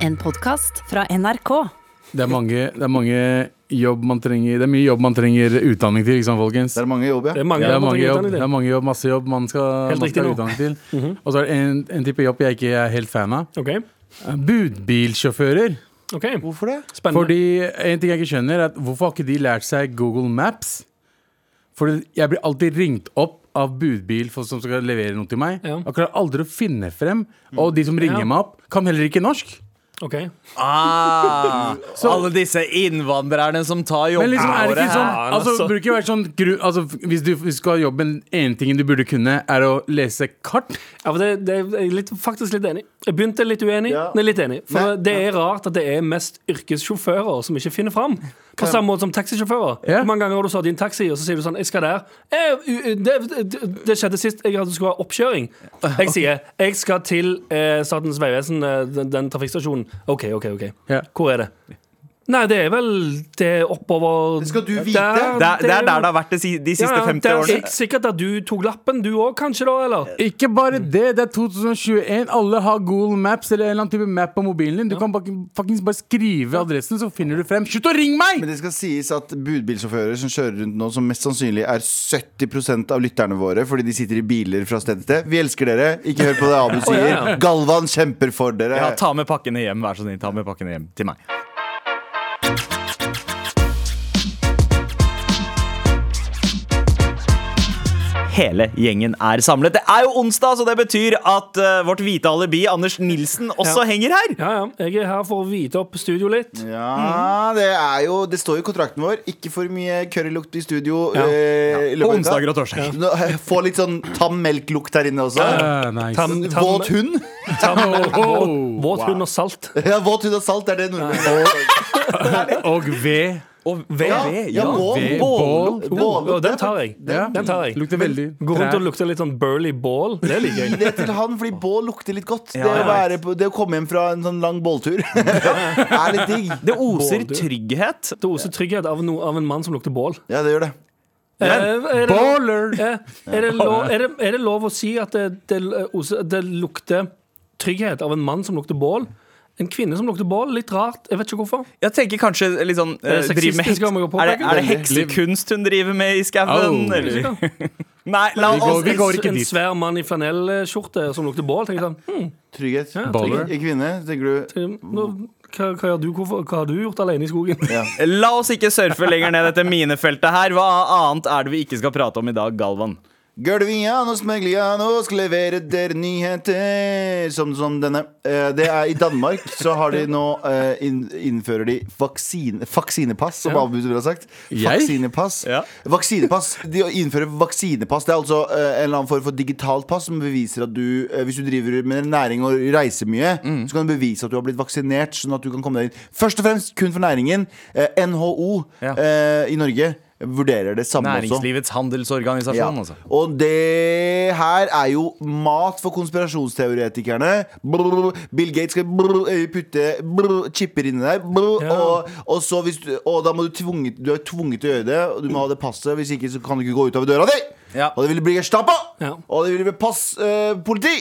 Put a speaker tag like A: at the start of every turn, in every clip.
A: En podkast fra NRK.
B: Det er mange, det er mange jobb man trenger Det er mye jobb man trenger utdanning til, ikke sant, folkens?
C: Det er mange jobber,
D: Det
C: ja.
D: er mange,
B: Det er
D: man
B: mange
D: trenger
B: jobb,
D: utdanning
B: det er
D: til.
B: mange jobb masse jobb man skal,
D: Helt
B: man skal ha
D: riktig nå. Mhm.
B: utdanning til. Og så er det en, en type jobb jeg ikke er helt fan av.
D: Ok,
B: Budbilsjåfører.
D: ok,
C: Hvorfor det?
D: Spennende.
B: Fordi En ting jeg ikke skjønner, er at hvorfor har ikke de lært seg Google Maps? For jeg blir alltid ringt opp av budbil for, som skal levere noe til meg.
D: Ja.
B: Og klarer aldri å finne frem. Og de som ringer
D: Ja.
B: meg opp, kan heller ikke norsk.
D: Ok.
E: Ah, alle disse innvandrerne som tar
B: Men
E: jobbene
B: liksom, er det
E: våre.
B: ikke sånn
D: Ja,
B: altså,
D: altså.
B: burde ikke være sånn gru, altså, Hvis du skal ha jobben, en ting du burde kunne, er å lese kart.
D: Ja, for det, det er jeg litt, faktisk litt enig. Jeg begynte litt uenig,
C: Ja.
D: men litt enig. For
C: Nei.
D: det er rart at det er mest yrkessjåfører som ikke finner fram. På samme måte som taxisjåfører.
B: Ja.
D: Hvor mange ganger har du satt i en taxi, og så sier du sånn 'Jeg skal der'. Eh, u- u- det, det, det skjedde sist jeg hadde skulle ha oppkjøring. Jeg sier 'Jeg skal til eh, Statens vegvesen, eh, den, den trafikkstasjonen'. OK, OK, OK.
B: Ja.
D: Hvor er det? Nei, det er vel Det er oppover
C: Det skal du vite.
E: Det er, det er der det har vært de, si- de siste 50
D: det er
E: årene.
D: sik- sikkert at du tok lappen, du òg, kanskje, da? eller?
B: Ikke bare det, det er 2021. Alle har Google Maps eller en eller annen type map på mobilen din. Du kan bak- faktisk bare skrive adressen, så finner du frem. Slutt å ringe meg!
C: Men det skal sies at budbilsjåfører som kjører rundt nå, som mest sannsynlig er 70 av lytterne våre fordi de sitter i biler fra sted til sted. Vi elsker dere. Ikke hør på det Abu
D: ja, ja.
C: sier. Galvan kjemper for dere.
E: Ja, ta med pakkene hjem, vær så snill. Ta med pakkene hjem til meg. Hele gjengen er samlet. Det er jo onsdag, så det betyr at eh, vårt hvite alibi, Anders Nilsen, også henger her.
D: Ja, ja. Jeg er her for å hvite opp studio litt. Mhm.
C: Ja, det er jo Det står jo i kontrakten vår. Ikke for mye currylukt i studio.
D: Ja.
C: eh, i løpet av
E: På
C: uka.
E: onsdager og torsdager.
C: Nå, eh, Få litt sånn tam melklukt her inne også.
B: Ah, nice.
D: Tam- tam-
C: Våt hund.
D: tam-
B: Oh.
D: Våt hund og salt.
C: Ja, våt hund og salt er det nordmenn
B: Og ved.
E: Og ved, ved,
C: ja, bål.
B: ved,
C: Bål. Bål.
D: Og den tar jeg.
B: Ja.
D: Den tar jeg.
B: Lukter veldig
D: Gå rundt og
B: trær.
D: lukte litt sånn burly ball. Det liker
C: Gi
D: jeg.
C: det til han, fordi bål lukter litt godt. Det,
E: Ja,
C: å,
E: jeg
C: være på, det å komme hjem fra en sånn lang båltur er litt digg.
E: Det oser
D: Bål, du.
E: trygghet.
D: Det oser trygghet av, no, av en mann som lukter bål.
C: Ja, det gjør det.
D: Eh, er, det,
B: Baller!
D: eh, er, det lov, er, det, er det lov å si at det, det, oser, det lukter trygghet av en mann som lukter bål? En kvinne som lukter bål? Litt rart. Jeg vet ikke hvorfor.
E: Jeg tenker kanskje litt sånn eh,
D: Er det
E: driver med
D: sexistisk om jeg går på
E: er, det, er det
B: veldig?
E: heksekunst hun driver med i skauen?
B: Au.
E: eller? Nei, la
B: Vi går-
E: oss
B: vi går ikke
D: en
B: dit.
D: svær mann i flanellskjorte som lukter bål. Tenker jeg sånn,
C: Trygghet.
B: Baller.
C: I kvinne, tenker du.
D: hm, nå, hva, hva, gjør du, hvorfor, hva har du gjort alene i skogen?
C: Ja.
E: La oss ikke surfe lenger ned dette minefeltet her. Hva annet er det vi ikke skal prate om i dag, Galvan?
C: Gulvian og Smeglian og skal levere dere nyheter som, som denne. Eh, Det er I Danmark så har de nå eh, inn, innfører de vaksine, vaksinepass, som
D: Ja.
C: Abu ville ha sagt.
B: Jeg?
C: Vaksinepass.
E: Ja.
C: Vaksinepass. De innfører vaksinepass. Det er altså eh, en eller annen form for digitalt pass som beviser at du, eh, hvis du driver med næring og reiser mye, så kan du bevise at du har blitt vaksinert, sånn at du kan komme deg inn. Først og fremst kun for næringen. Eh, NHO
E: Ja.
C: eh, i Norge vurderer det samme også.
E: Næringslivets handelsorganisasjon, altså.
C: Og det her er jo mat for konspirasjonsteoretikerne. Brr, Bill Gates skal brr, eh, putte brr, chipper inni der. Brr,
D: Ja.
C: og, og, så hvis du, og da må du tvunget, du er tvunget til å gjøre det. Og du må ha det passet, hvis ikke så kan du ikke gå utover døra di!
E: Ja.
C: Og det vil bli Gestapo!
D: Ja.
C: Og det vil bli passpoliti!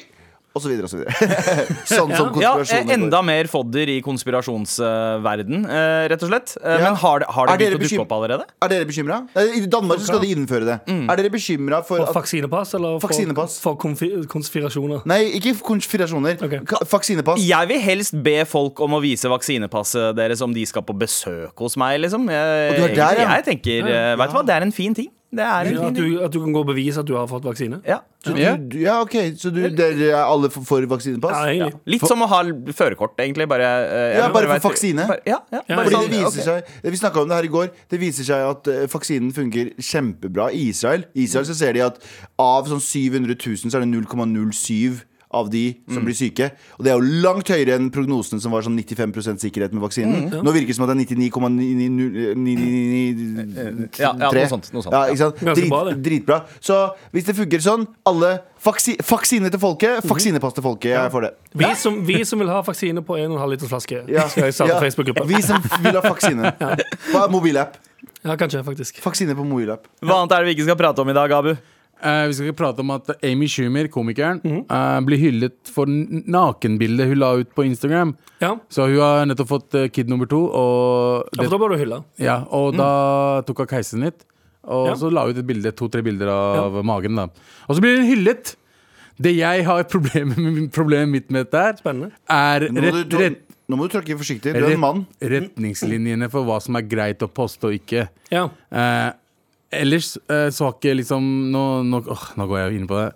C: og så videre og så videre. sånn som
E: Ja, eh,
C: konspirasjoner
E: Enda mer fodder i konspirasjonsverden, eh, rett og slett. Eh,
C: Ja.
E: Men har, det- har det
C: Er dere
E: begynt å dukke
C: bekym-
E: opp allerede?
C: Er dere bekymra? I Danmark så skal de innføre det.
E: Mm.
C: Er dere bekymra for
D: For
C: at
D: vaksinepass eller for,
C: Vaksinepass.
D: for konfi- konspirasjoner?
C: Nei, ikke konspirasjoner.
D: Ok.
C: Ka- Vaksinepass.
E: Jeg vil helst be folk om å vise vaksinepasset deres om de skal på besøk hos meg, liksom. Jeg,
C: Og du er der,
E: egentlig,
C: ja.
E: jeg tenker, eh, vet du hva, det er en fin ting. Det er en
D: At
E: fin ting.
D: du, at du kan gå og bevise at du har fått vaksine?
E: Ja.
C: Så
B: Ja.
C: du, du, ja, ok Så du, dere er alle for, for vaksinepass?
D: Ja, egentlig.
E: Litt som å ha l- førerkort, egentlig. Bare, eh, jeg
C: Ja,
E: vil
C: bare for
E: vite-
C: vaksine.
E: Bare, ja, ja,
D: Ja,
E: bare
C: Fordi
E: sånn,
C: det
E: ok.
C: viser seg Vi snakka om det her i går. Det viser seg at eh, vaksinen funker kjempebra i Israel. I Israel så ser de at av sånn 700 000 så er det 0,07 av de som blir syke. Og det er jo langt høyere enn prognosen som var sånn 95 sikkerhet med vaksinen. Nå virker det som at det er 99,999
E: Ja, ja, noe sånt, noe sånt,
C: ja, ikke sant?
D: Ganske
C: Drit,
D: bra, det.
C: dritbra. Så hvis det funker sånn, alle vaksi, Vaksine til folket, vaksinepass til folket. Jeg er for det.
D: Vi, som, vi som vil ha vaksine på 1,5 liters flaske,
C: Ja.
D: skal jeg starte
C: Ja.
D: Facebook-gruppa.
C: Vi som vil ha vaksine. På mobilapp.
D: Ja, kanskje, faktisk.
C: Vaksine på mobilapp.
E: Hva annet er det vi ikke skal prate om i dag, Abu?
B: Eh, vi skal ikke prate om at Amy Schumer, komikeren,
D: Mhm.
B: eh, blir hyllet for n- nakenbildet hun la ut på Instagram.
D: Ja,
B: Så hun har nettopp fått eh, kid nummer to, og,
D: ja for
B: det,
D: da bør du hylle.
B: ja, og
C: Mm.
B: da tok hun keisen litt. Og
D: Ja.
B: så la hun ut et bilde, to-tre bilder av magen. da Og så blir hun hyllet! Det jeg har problemet, med- problemet mitt med dette her,
D: Spennende.
B: er
C: Nå må,
B: rett,
C: du,
B: rett,
C: nå må du tråkke forsiktig. Du er en mann.
B: ret, retningslinjene for hva som er greit å poste og ikke.
D: Ja.
B: Eh, ellers eh, så har ikke liksom Nå, nå, åh, nå går jeg jo inn på det.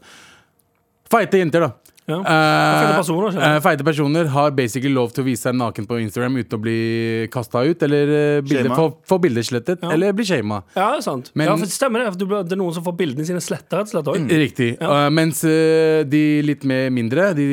B: Feite jenter, da.
D: ja.
B: Eh,
D: Feite personer, skjønner jeg.
B: eh, feite personer har basically lov til å vise seg naken på Instagram uten å bli kasta ut eller eh, bilder,
C: Shama.
B: få, få bilder slettet.
D: Ja.
B: Eller bli shama.
D: Ja, det er sant.
B: Men-
D: ja, for det stemmer det. For du blir- det er noen som får bildene sine sletta, rett og slett òg.
B: Riktig. Eh, mens eh, de litt mer mindre, de,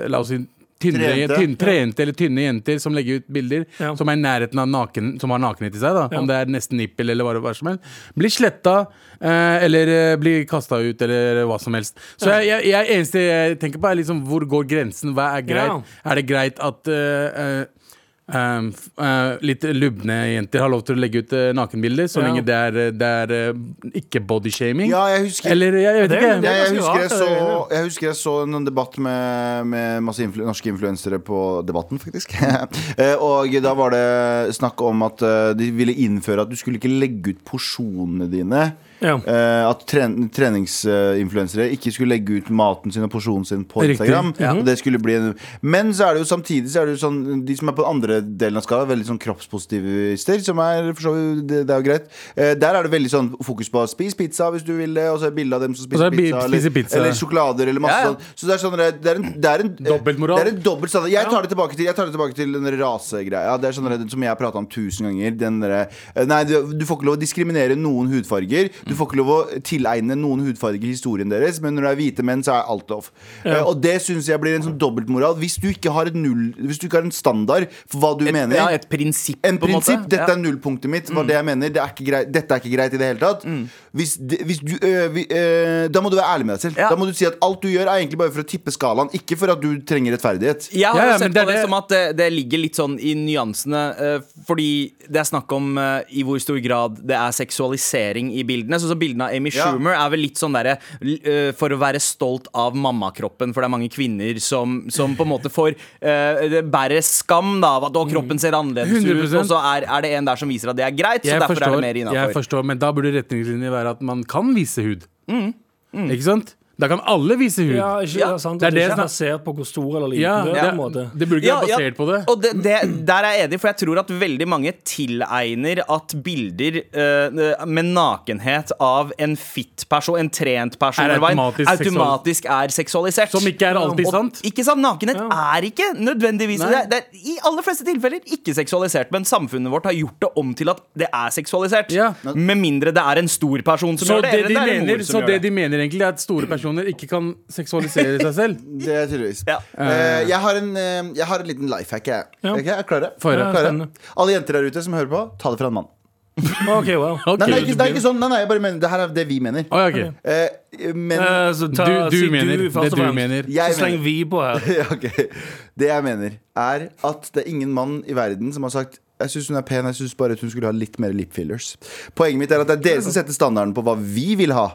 B: de la oss si tynne,
C: Trente.
B: tynn, trente eller tynne jenter som legger ut bilder
D: Ja.
B: som er i nærheten av naken, som har nakenhet i seg, da,
D: Ja.
B: om det er nesten nippel eller hva, det- hva som helst, blir sletta eh, eller eh, blir kasta ut eller hva som helst. Så jeg, jeg, jeg, eneste jeg tenker på, er liksom hvor går grensen? Hva er greit?
D: Ja.
B: Er det greit at eh, eh, Um, f- eh, litt lubne jenter har lov til å legge ut eh, nakenbilder, så
D: Ja.
B: lenge det er, eh, det er eh, ikke bodyshaming.
C: Ja, jeg husker
B: Eller jeg, jeg vet
D: Det-
B: ikke.
C: jeg,
D: det-
C: jeg,
D: ganske
C: husker jeg,
D: rart,
C: så,
D: det er det.
C: jeg husker jeg så en debatt med, med masse influ norske influensere på Debatten, faktisk. Eh, og da var det snakk om at eh, de ville innføre at du skulle ikke legge ut porsjonene dine.
D: Ja.
C: Eh, at tren treningsinfluensere ikke skulle legge ut maten sin og porsjonen sin på
B: Riktig.
C: Instagram.
B: Ja.
C: Og det skulle bli en Men så er det jo samtidig så er det jo sånn de som er på den andre delen av skala, veldig sånn kroppspositivister, som er for så vidt Det, det er jo greit. Eh, der er det veldig sånn fokus på spis pizza hvis du vil det, og så er det bilde av dem som spiser
B: Og så er det bi-
C: pizza, eller,
B: spiser pizza.
C: eller sjokolader eller masse
B: Ja, ja.
C: sånn. Så det er sånn det er en, det er en
B: Dobbeltmoral.
C: Det er en dobbelt standard. Jeg tar det tilbake til Jeg tar det tilbake til den der rasegreia. Det er sånn der- som jeg har prata om tusen ganger. Den derre eh, Nei, du, du får ikke lov å diskriminere noen hudfarger. Du
E: Mm.
C: får ikke lov å tilegne noen hudfarger i historien deres, men når det er hvite menn, så er alt off. Eh, Og det syns jeg blir en sånn dobbeltmoral. Hvis du ikke har et null Hvis du ikke har en standard for hva du mener
E: ja, et prinsipp,
C: en
E: på en måte.
C: prinsipp, Dette
E: Ja. Mm.
C: er nullpunktet mitt. Var det jeg mener det er ikke greit, Dette er ikke greit i det hele tatt. Hvis, de- hvis du, øh, vi, øh, da må du være ærlig med deg selv.
E: Ja.
C: Da må du si at alt du gjør, er egentlig bare for å tippe skalaen. Ikke for at du trenger rettferdighet.
E: Jeg har
B: Ja, ja,
E: jo
B: men
E: sett
B: det er
E: på det,
B: det-
E: som at det, det ligger litt sånn i nyansene, eh, fordi det er snakk om eh, i hvor stor grad det er seksualisering i bildene. Sånn som bildene av Amy
C: Ja.
E: Schumer er vel litt sånn derre l- eh, for å være stolt av mammakroppen, for det er mange kvinner som, som på en måte får eh, det bærer skam da, av at å, kroppen ser annerledes ut,
B: 100%.
E: og så er, er det en der som viser at det er greit, så
B: Jeg
E: derfor
B: forstår,
E: er det mer
B: jeg
E: innafor.
B: forstår, men da burde retningslinjer være at man kan vise hud.
E: Mm,
B: Ikke sant? Da kan alle vise hud.
D: Ja, ikke, ja.
E: Ja.
D: sant,
B: Det er
D: at
B: det
D: det ikke
B: jeg
D: er basert på hvor stor eller liten
B: Ja,
D: du er. på en
B: det,
D: måte.
B: det burde ikke
E: Ja,
B: være
E: ja,
B: basert på det.
E: Og det, det, der er jeg enig, for jeg tror at veldig mange tilegner at bilder eh, med nakenhet av en fit person, en trent person,
B: Er
E: eller hva enn,
B: automatisk
E: automatisk er seksualisert.
B: Som ikke er alltid
E: Og-
B: sant.
E: Ikke sant? Nakenhet
D: Ja.
E: er ikke nødvendigvis
B: Nei.
E: det er, det er I aller fleste tilfeller ikke seksualisert, men samfunnet vårt har gjort det om til at det er seksualisert.
B: Ja.
E: Med mindre det er en stor person som
B: Så
E: gjør det,
B: det,
E: eller
B: de
E: det er en
B: mener,
E: mor som
B: så
E: gjør
B: det
E: det.
B: de mener egentlig, er at store personer ikke kan seksualisere seg selv.
C: Det er tydeligvis.
E: Ja.
C: Eh, jeg, har en, eh, jeg har en liten life hack, jeg.
D: Ja.
C: Ok, er klare?
B: Få høre.
C: Er klare?
D: Spennende.
C: Alle jenter der ute som hører på, ta det fra en mann.
D: Ok, wow.
B: Ok.
C: Nei, nei, ikke, det er ikke sånn. Nei, nei, jeg bare mener, det her er det vi mener.
B: Å, ja, ok.
C: Eh, men
D: Eh, så ta,
B: Du, du
D: si
B: mener
D: du,
B: det
D: først og
B: du
D: fremst.
B: mener.
C: Jeg
D: Så sleng
C: mener-
D: vi på her.
C: Ja, ok. Det jeg mener, er at det er ingen mann i verden som har sagt jeg syns hun er pen, jeg syns bare at hun skulle ha litt mer lip fillers. Poenget mitt er at det er dere som setter standarden på hva vi vil ha.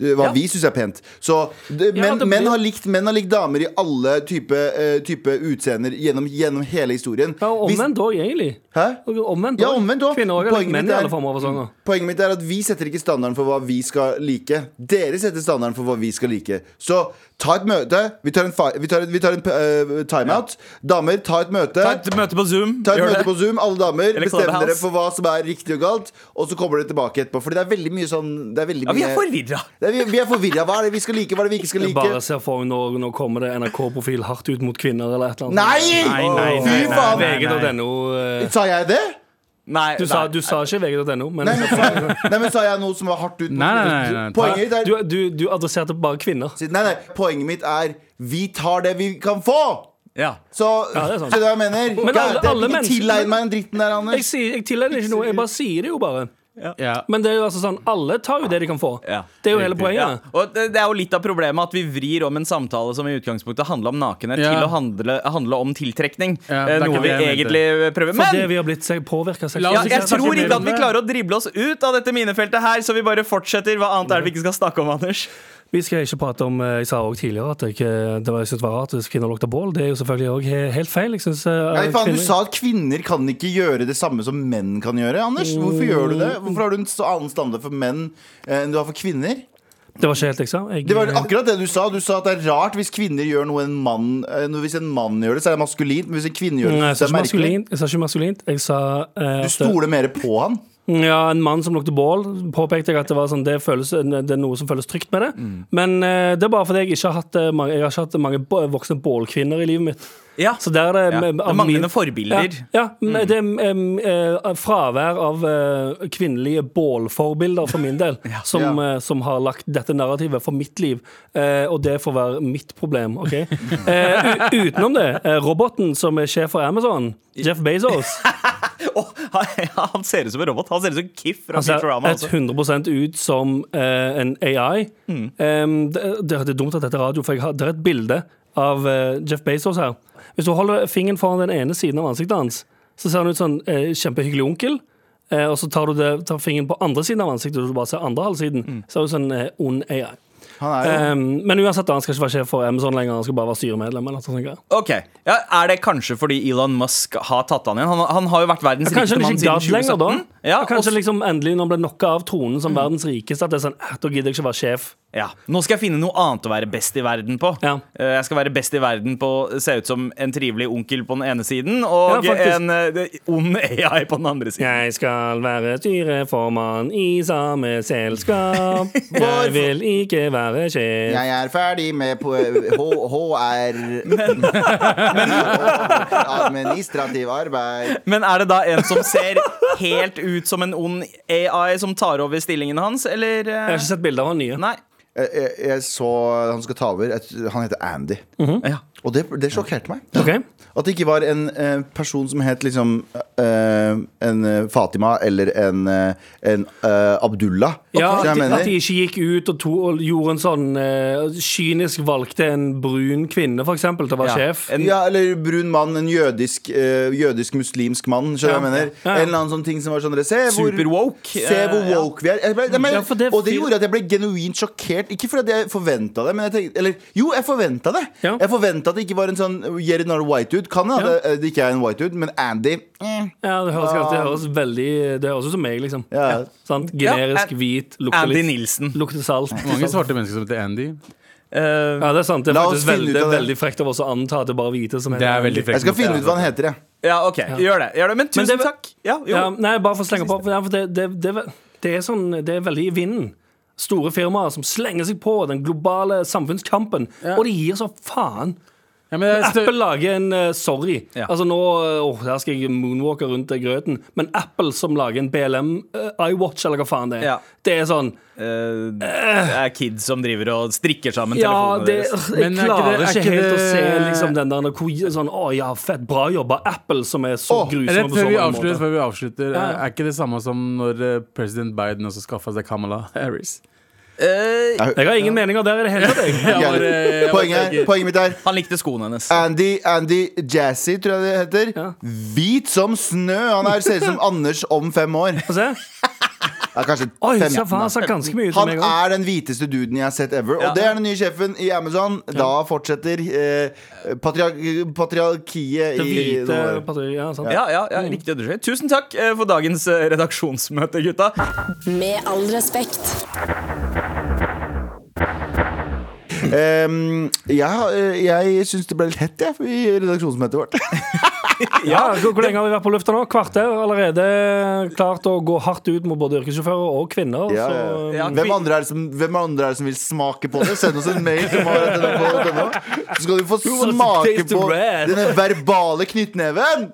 C: eh, Hva
D: Ja.
C: vi syns er pent. Så det,
D: Ja,
C: menn,
D: det blir-
C: menn, har likt, menn har likt damer i alle type, eh, type utseender gjennom, gjennom hele historien.
D: Ja, og
C: Hvis-
D: omvendt òg, egentlig.
C: Hæ?
D: Og Omvendt
C: Ja,
D: også.
C: omvendt også.
D: Kvinner òg er
C: Poenget
D: litt menn
C: mitt
D: i
C: er-
D: alle former for sanger.
C: Poenget mitt er at vi setter ikke standarden for hva vi skal like. Dere setter standarden for hva vi skal like. Så ta et møte. Vi tar en, fa- vi tar, vi tar en eh, timeout. Damer, ta et møte.
E: Ta et møte på Zoom.
C: Ta et
E: gjør
C: møte
E: det.
C: på Zoom, alle damer.
E: Eller
C: Bestem
E: Clubhouse.
C: dere for hva som er riktig og galt. Og så kommer dere tilbake etterpå. Fordi det er veldig mye sånn det er veldig
E: Ja, vi er
C: mye-
E: forvirra.
C: Det er- vi- Vi er forvirra. Hva er det vi skal like, hva er det vi ikke skal
D: Jeg bare
C: like?
D: ser for meg nå, nå kommer det NRK-profil hardt ut mot kvinner eller et eller
C: Nei!
D: annet.
C: Fy faen!
D: VG.no eh,
C: Sa jeg det?
E: Nei,
D: du, sa-
E: nei.
D: du sa ikke VG.no, men
C: Nei men, sa, nei, men sa jeg noe som var hardt ut? mot-
B: Nei, nei, nei, nei.
C: Poenget mitt er
D: du, du, du adresserte bare kvinner.
C: Nei, nei, poenget mitt er Vi tar det vi kan få!
E: Ja.
C: Så
D: det er sant.
C: Skjønner du hva jeg mener?
D: Men alle-
C: Gæren,
D: alle
C: ikke
D: mennesker-
C: tilegn meg den dritten der,
D: Jeg,
C: Anders.
D: sier, jeg tillegger ikke noe, jeg bare sier det jo bare.
B: Ja.
D: Men det er jo altså sånn, alle tar jo det de kan få.
E: Ja.
D: Det er jo hele
B: Riktig.
E: Ja.
D: poenget.
E: Og det, det er jo litt av problemet at vi vrir om en samtale som i utgangspunktet handla om nakenhet,
B: Ja.
E: til å handle, handle om tiltrekning.
B: Ja,
E: Eh,
B: det er
E: noe
B: ikke det
E: vi
B: jeg mente.
E: egentlig prøver. Men
D: Fordi vi Altså, har blitt påvirka
B: La
E: ja,
B: oss
E: jeg
B: ikke snakke
E: tror
B: mer
E: ikke
B: om
E: at vi
B: det.
E: klarer å drible oss ut av dette minefeltet her, så vi bare fortsetter. Hva annet er det vi ikke skal snakke om, Anders?
D: Vi skal ikke prate om eh, Jeg sa også tidligere at jeg, ikke- det var, jeg synes det var rart hvis kvinner lukter bål. Det er jo selvfølgelig òg helt feil. Jeg synes, eh,
C: Nei, faen, Du
D: kvinner-
C: sa at kvinner kan ikke gjøre det samme som menn kan gjøre. Anders, Hvorfor gjør du det? Hvorfor har du en så annen standard for menn eh, enn du har for kvinner?
D: Det var ikke helt liksom. Jeg,
C: Det var akkurat det du sa. Du sa at det er rart hvis kvinner gjør noe en mann eh, når- Hvis en mann gjør det, så er det maskulint. Men hvis en kvinne gjør
D: Nei,
C: det,
D: jeg sa
C: så er
D: ikke
C: det merkelig.
D: maskulint. Jeg sa ikke maskulint. Jeg sa eh,
C: Du
D: at- mm,
C: stoler mer på han.
D: Ja, en mann som lukter bål, påpekte jeg at det var sånn, det, føles, det er noe som føles trygt med det.
C: Mm.
D: Men eh, det er bare fordi jeg ikke har hatt eh, mange, jeg har ikke hatt mange bo- voksne bålkvinner i livet mitt.
E: Ja.
D: Så der er det,
E: Ja.
D: med-
E: Det
D: av
E: mangler
D: min-
E: noen forbilder.
D: Ja, ja
C: Mm.
D: men det er em, eh, fravær av eh, kvinnelige bålforbilder for min del, som,
C: Ja.
D: eh, som har lagt dette narrativet for mitt liv. Eh, og det får være mitt problem, OK? Eh, u- utenom det, eh, roboten som er sjef for Amazon, Jeff Bezos
E: Åh, han, han ser ut som en robot. Han ser ut som Kiff fra
D: Han ser
E: Futurama. altså. Mm.
D: 100 ut som eh, en AI. Em, det, det det er dumt at dette er radio, for jeg har, det er et bilde av eh, Jeff Bezos her. Hvis du holder fingeren foran den ene siden av ansiktet hans, så ser han ut som en eh, kjempehyggelig onkel. Eh, og så tar du det, tar fingeren på andre siden av ansiktet, og du bare ser andre halvsiden.
E: Mm.
D: Ser ut som en eh, ond AI.
C: Han er jo
D: Em, men uansett, han skal ikke være sjef for Amazon lenger, han skal bare være styremedlem. Eller noe sånt. greier.
E: Ok, ja, Er det kanskje fordi Elon Musk har tatt han igjen? Han, han har jo vært verdens
D: Kanskje han
E: rikeste mann
D: ikke
E: Altså, siden
D: gadd lenger da?
E: 2017. Ja,
D: Og kanskje
E: og- Mm.
D: liksom endelig når han ble knocka av tronen som verdens rikeste, at det er sånn, eh, da gidder jeg ikke være sjef.
E: ja. Nå skal jeg finne noe annet å være best i verden på.
D: Ja.
E: Eh, Jeg skal være best i verden på å se ut som en trivelig onkel på den ene siden og
D: Ja, faktisk.
E: en eh, ond AI på den andre siden.
D: Jeg skal være styreformann i samme selskap. Jeg vil ikke være sjef.
C: Jeg er ferdig med på eh, H HR Administrativ arbeid.
E: Men er det da en som ser helt ut som en ond AI som tar over stillingen hans, eller eh,
D: Jeg har ikke sett bilder av han nye.
E: Nei.
C: Jeg, jeg, Eh, jeg så han skal ta over. Jeg- Han heter Andy.
E: Ja.
C: Og det, det sjokkerte meg.
D: Ok.
C: At det ikke var en eh, person som het liksom eh, en eh, Fatima eller en, eh, en eh, Abdullah.
D: Ja,
C: Så
D: at
C: jeg
D: de,
C: mener-
D: at de ikke gikk ut og, to, og gjorde en sånn eh, kynisk valgte en brun kvinne, for eksempel, til å være
E: Ja.
D: sjef.
E: En,
C: ja, eller brun mann, en jødisk, eh, jødisk muslimsk mann. Skjønner du hva jeg mener?
D: Ja, ja.
C: En eller annen sånn ting som var sånn dere, Se hvor
E: Super woke,
C: Se hvor
E: eh, ja.
C: woke vi er. Jeg ble, jeg mener-
D: Ja, for det-
C: og det gjorde at jeg ble genuint sjokkert. Ikke fordi jeg forventa det, men jeg tenkte Eller jo, jeg forventa det.
D: Ja.
C: Jeg forventa at det ikke var en sånn yet another white dude. Kan hende
D: Ja.
C: at eh, det- det ikke er en white dude, men Andy eh,
D: Ja, det høres, ganske- det høres veldig Det høres ut som meg, liksom.
C: Ja.
D: Sant?
E: Ja,
D: Generisk
E: An-
D: hvit, lukter
E: Andy
D: litt
E: Nilsen.
D: Lukter salt.
B: Mange svarte mennesker som heter Andy.
E: Eh,
D: Ja, det er sant. Det er
C: La oss
D: faktisk
C: finne ut
D: veldig,
C: av det.
D: veldig frekt av oss å anta at det er bare hvite som
B: Det er veldig
C: Jeg
B: frekt.
C: skal finne ut hva han heter, jeg.
E: ja, OK. Gjør det. Gjør det. Men tusen
D: det-
E: takk. Ja, jo.
D: Ja, nei, bare for å slenge på. Ja, for det, det, det, det, er sånn, det er veldig i vinden. Store firmaer som slenger seg på den globale samfunnskampen. Og de gir så faen.
B: Ja, men det er stø-
D: Apple lager en eh, sorry.
E: Ja.
D: Altså nå eh, åh, Her skal jeg moonwalke rundt eh, grøten. Men Apple som lager en BLM eh, iWatch, eller hva faen det er,
E: Ja.
D: det er sånn
E: Eh, det er kids som driver og strikker sammen
D: Ja,
E: telefonene
D: det,
E: deres.
D: jeg
B: Men er ikke det-
D: klarer ikke,
B: er ikke
D: helt å
B: det-
D: se liksom, den der hvor- sånn, Å ja, fett, bra jobba. Apple som er så
C: Åh,
D: grusomme
B: Rett
D: på så
B: før vi
D: mange
B: avslutter,
D: måter.
B: før vi avslutter er ikke det samme som når eh, president Biden også skaffa seg Kamala Harris?
E: Eh,
D: Jeg har ingen meninger der i det hele tatt. jeg.
B: Jeg var, eh, jeg var
C: Poenget,
B: ikke-
C: er- poenget mitt er
E: han likte skoene hennes.
C: Andy, Andy Jazzy, tror jeg det heter. Hvit som snø! Han er, ser ut som Anders om fem år.
D: Få se.
C: Ja, kanskje
D: Oi,
C: 15.
D: så faen,
C: da.
D: han sa ganske mye ut om
C: Han
D: meg også.
C: er den hviteste duden jeg har sett ever. Og det er den nye sjefen i Amazon. Da fortsetter eh, patriar- patriarkiet
D: Det
C: i
D: hvite partiet, ja, sant?
E: Ja, ja, ja, riktig undersøkt. Tusen takk eh, for dagens eh, redaksjonsmøte, gutta.
A: Med all respekt.
C: Ehm, jeg har- eh, jeg syns det ble litt hett, jeg, i redaksjonsmøtet vårt.
D: Ja, hvor, hvor lenge har vi vært på lufta nå? Kvarter allerede klart å gå hardt ut mot både yrkessjåfører og kvinner.
C: Ja,
D: så,
C: ja.
E: Ja,
C: Hvem andre er det som, hvem andre er det som vil smake på det? Send oss en mail til mar.nrk.no, så skal du få
D: wants to
C: smake
D: taste the
C: på
D: red?
C: denne verbale knyttneven.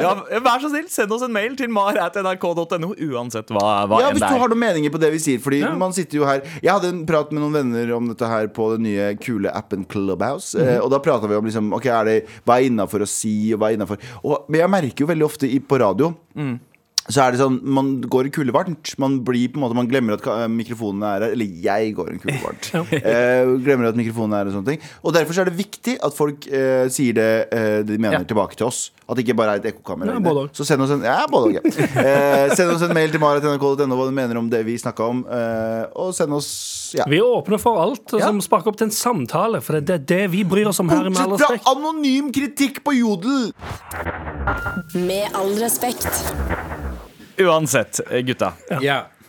E: Ja, vær så snill, send oss en mail til mar.nrk.no uansett hva, hva
C: Ja,
E: enn
C: Hvis
E: det
C: du
E: er.
C: har noen meninger på det vi sier. Fordi man sitter jo her Jeg hadde en prat med noen venner om dette her på den nye kule appen Clubhouse. eh, og da prata vi om liksom, Ok, er det, hva er innafor å si, og hva er innafor Men jeg merker jo veldig ofte i, på radio så er det sånn, Man går en kulevarmt. Man blir på en måte, man glemmer at ka- eh, mikrofonen er her. Eller jeg går en kulevarmt. Eh, glemmer at mikrofonen er her og sånne ting. Og Derfor så er det viktig at folk eh, sier det eh, de mener,
D: Ja.
C: tilbake til oss. At det ikke bare er et ekkokamera.
D: Ja,
C: inne.
D: både og.
C: så send oss en ja, både og, ja. eh, Send oss en mail til maratnrk.no hva du mener om det vi snakka om. Eh, og send oss ja.
D: Vi er åpne for alt
C: Ja.
D: som sparker opp til en samtale, for det er det vi bryr oss om her. med all
C: Bortsett
D: respekt
C: fra anonym kritikk på Jodel!
A: Med all respekt.
E: Uansett, eh, gutta.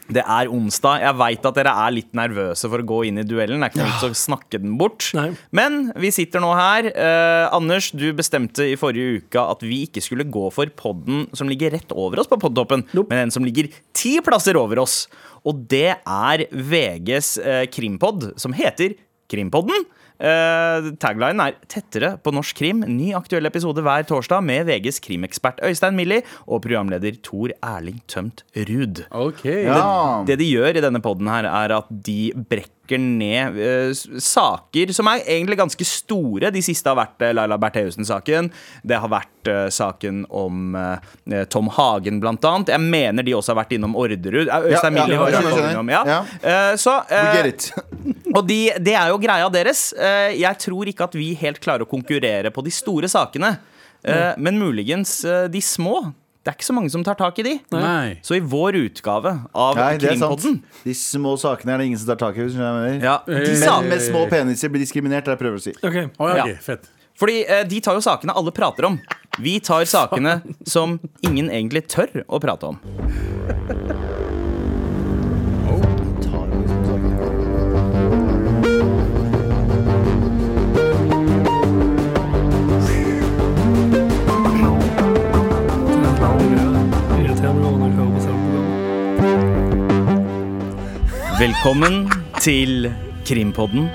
E: Det er onsdag. Jeg veit at dere er litt nervøse for å gå inn i duellen. Det er ikke noe vits å snakke den bort.
D: Nei.
E: Men vi sitter nå her. Eh, Anders, du bestemte i forrige uke at vi ikke skulle gå for podden som ligger rett over oss på podtoppen, men den som ligger ti plasser over oss. Og det er VGs eh, krimpod, som heter Krimpodden. Eh, taglinen er 'Tettere på norsk krim'. Ny aktuell episode hver torsdag med VGs krimekspert Øystein Millie og programleder Tor Erling Tømt Ruud.
B: OK.
C: Ja.
E: Det de gjør i denne podden her er at de brekker ned eh, s- saker som er egentlig ganske store. De siste har vært eh, Laila Bertheussen-saken. Det har vært eh, saken om eh, Tom Hagen, blant annet. Jeg mener de også har vært innom Orderud. Eh,
C: Ja,
E: Øystein
C: ja,
E: Millie har
C: jeg skjønner,
E: vært
C: skjønner.
E: innom. Ja.
C: Ja.
E: Eh, så,
C: We
E: eh,
C: get it.
E: og de, det er jo greia deres. Eh, Jeg tror ikke at vi helt klarer å konkurrere på de store sakene. Eh, Men muligens eh, de små. Det er ikke så mange som tar tak i de.
B: Nei.
E: Så i vår utgave av
C: Nei, det er sant.
E: Krimpodden
C: De små sakene er det ingen som tar tak i. hvis du skjønner hva jeg mener.
E: ja,
D: Eh,
E: de
B: Men-
E: sa,
C: Menn med små peniser blir diskriminert, er det jeg prøver å si.
D: Ok.
B: Å, ja, ok,
E: Ja.
B: Fett.
E: Fordi eh, de tar jo sakene alle prater om. Vi tar sakene som ingen egentlig tør å prate om.
D: Det irriterer meg når jeg hører på samme program.
E: Velkommen til Krimpodden.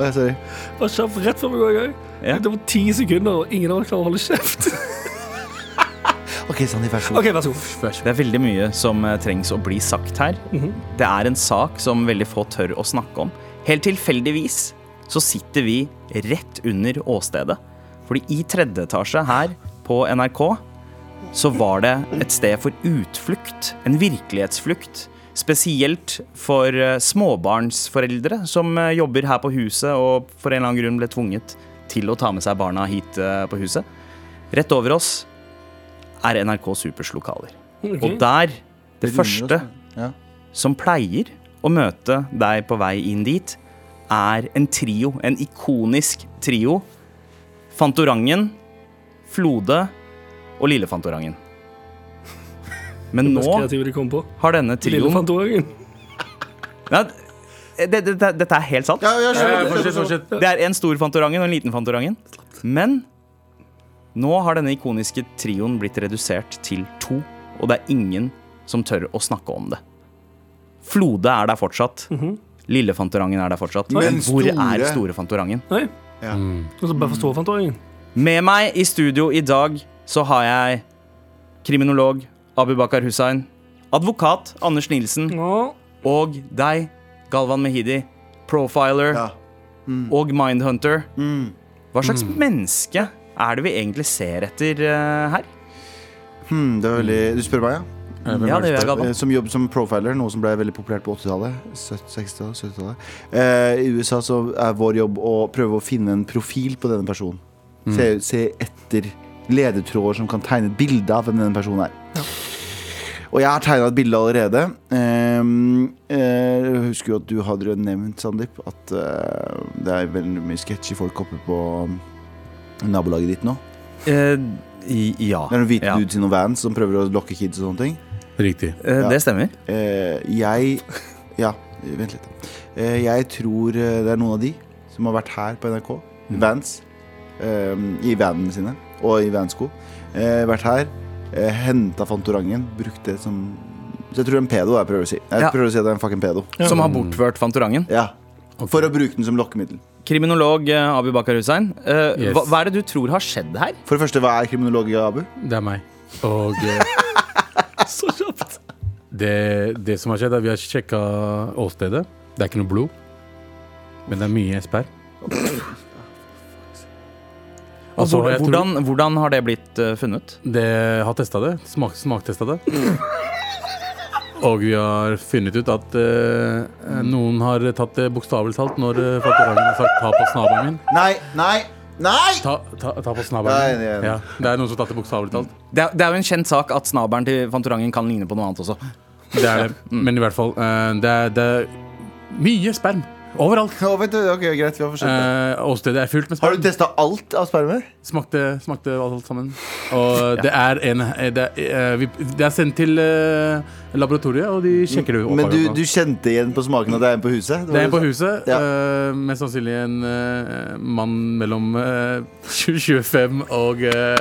C: Å, sorry.
D: Og kjapt rett før vi går i gang.
E: Ja.
D: Det var ti sekunder, og ingen av oss klarer å holde kjeft.
C: Ok, Sandeep, vær så god.
D: OK, vær så god.
E: Det er veldig mye som eh, trengs å bli sagt her. Det er en sak som veldig få tør å snakke om. Helt tilfeldigvis så sitter vi rett under åstedet. Fordi i tredje etasje her på NRK så var det et sted for utflukt. En virkelighetsflukt. Spesielt for eh, småbarnsforeldre som eh, jobber her på huset og for en eller annen grunn ble tvunget til å ta med seg barna hit eh, på huset. Rett over oss er NRK Supers lokaler.
D: Ok.
E: Og der,
C: runder
E: det
C: oss,
E: første
C: sånn, ja.
E: som pleier å møte deg på vei inn dit, er en trio. En ikonisk trio. Fantorangen, Flode og Lille Fantorangen. Men
D: Det mest
E: nå
D: kreative de kom på.
E: har denne
D: Lille
E: trioen
D: Fantorangen.
E: Nei, det, det, det, Dette er helt sant.
C: Ja, ja, skjønner.
B: Eh, Fortsett, fortsett.
E: Det er en stor Fantorangen og en liten Fantorangen. Men nå har denne ikoniske trioen blitt redusert til to, og det er ingen som tør å snakke om det. Flode er der fortsatt. Lille Fantorangen er der fortsatt.
C: Men
E: Men hvor er
C: store-
E: store Fantorangen?
D: Nei.
C: Ja.
D: Og så bare for store Fantorangen.
E: Med meg i studio i dag så har jeg kriminolog Abubakar Hussain, advokat Anders Nilsen
D: Nå.
E: og deg, Galvan Mehidi, profiler
C: Ja. Mm.
E: og Mindhunter. Hva slags menneske er det vi egentlig ser etter eh, her?
C: Hmm, det var veldig, du spør meg, ja?
E: Mm. Ja, det gjør jeg,
C: Eh,
E: Galvan.
C: Som jobb som profiler, noe som ble veldig populært på 80-tallet. 70-, 60-tallet, 70-tallet. Eh, I USA så er vår jobb å prøve å finne en profil på denne personen. Se,
E: Mm.
C: se etter ledetråder som kan tegne et bilde av hvem denne personen er. Og jeg har tegna et bilde allerede. Ehm, eh, jeg husker jo at du hadde jo nevnt, Sandeep, at eh, det er veldig mye sketchy folk oppe på mm, nabolaget ditt nå.
E: Eh, i- ja.
C: Det er noen hvite
E: ja.
C: dudes i noen vans som prøver å lokke kids og sånne ting.
B: Riktig.
E: Eh,
C: Ja.
E: Det stemmer.
C: Eh, jeg Ja, vent litt. da. Eh, jeg tror eh, det er noen av de som har vært her på NRK. Vans. eh, I vanene sine. Og i vansko. Eh, vært her. Eh, Henta Fantorangen. Brukt det som Så jeg tror det er en pedo, jeg prøver å si. Jeg
E: Ja.
C: prøver å si at det er en fucking pedo.
E: Som har bortført Fantorangen.
C: Ja. For å bruke den som lokkemiddel.
E: Kriminolog eh, Abu Bakar Hussein, eh,
B: Yes.
E: hva, hva er det du tror har skjedd her?
C: For det første, hva er kriminolog i Abu?
B: Det er meg. Og eh,
D: Så kjapt.
B: det, det som har skjedd, er vi har sjekka åstedet. Det er ikke noe blod. Men det er mye sperr. Altså, jeg tror-
E: Hvordan, hvordan har det blitt eh, funnet?
B: Det har testa det. Smak, smaktesta det. Og vi har funnet ut at eh, noen har tatt det bokstavelig talt når uh, Fantorangen har sagt 'ta på snabelen min'.
C: Nei, nei, nei!
B: Ta, ta, ta på snabelen
C: Nei, nei,
B: min.
C: nei.
B: Ja, det er noen som har tatt det bokstavelig talt.
E: Det er, det er jo en kjent sak at snabelen til Fantorangen kan ligne på noe annet også.
B: Det er det. Men i hvert fall, eh, det, er, det er mye sperm. Overalt.
C: Å, vent, ok, greit, vi har forsøkt det.
B: Eh, åstedet er fullt med
C: Mm. Har du
B: sperm.
C: testa alt av spermer?
B: Smakte, smakte alt sammen. Og det er en Det er, eh, vi, det er sendt til eh, laboratoriet, og de sjekker det. og
C: Men du,
B: oppdager det.
C: du kjente igjen på smaken at det er en på huset?
B: Det er en på huset.
C: Ja.
B: eh, mest sannsynlig en eh, mann mellom eh, 25 og eh,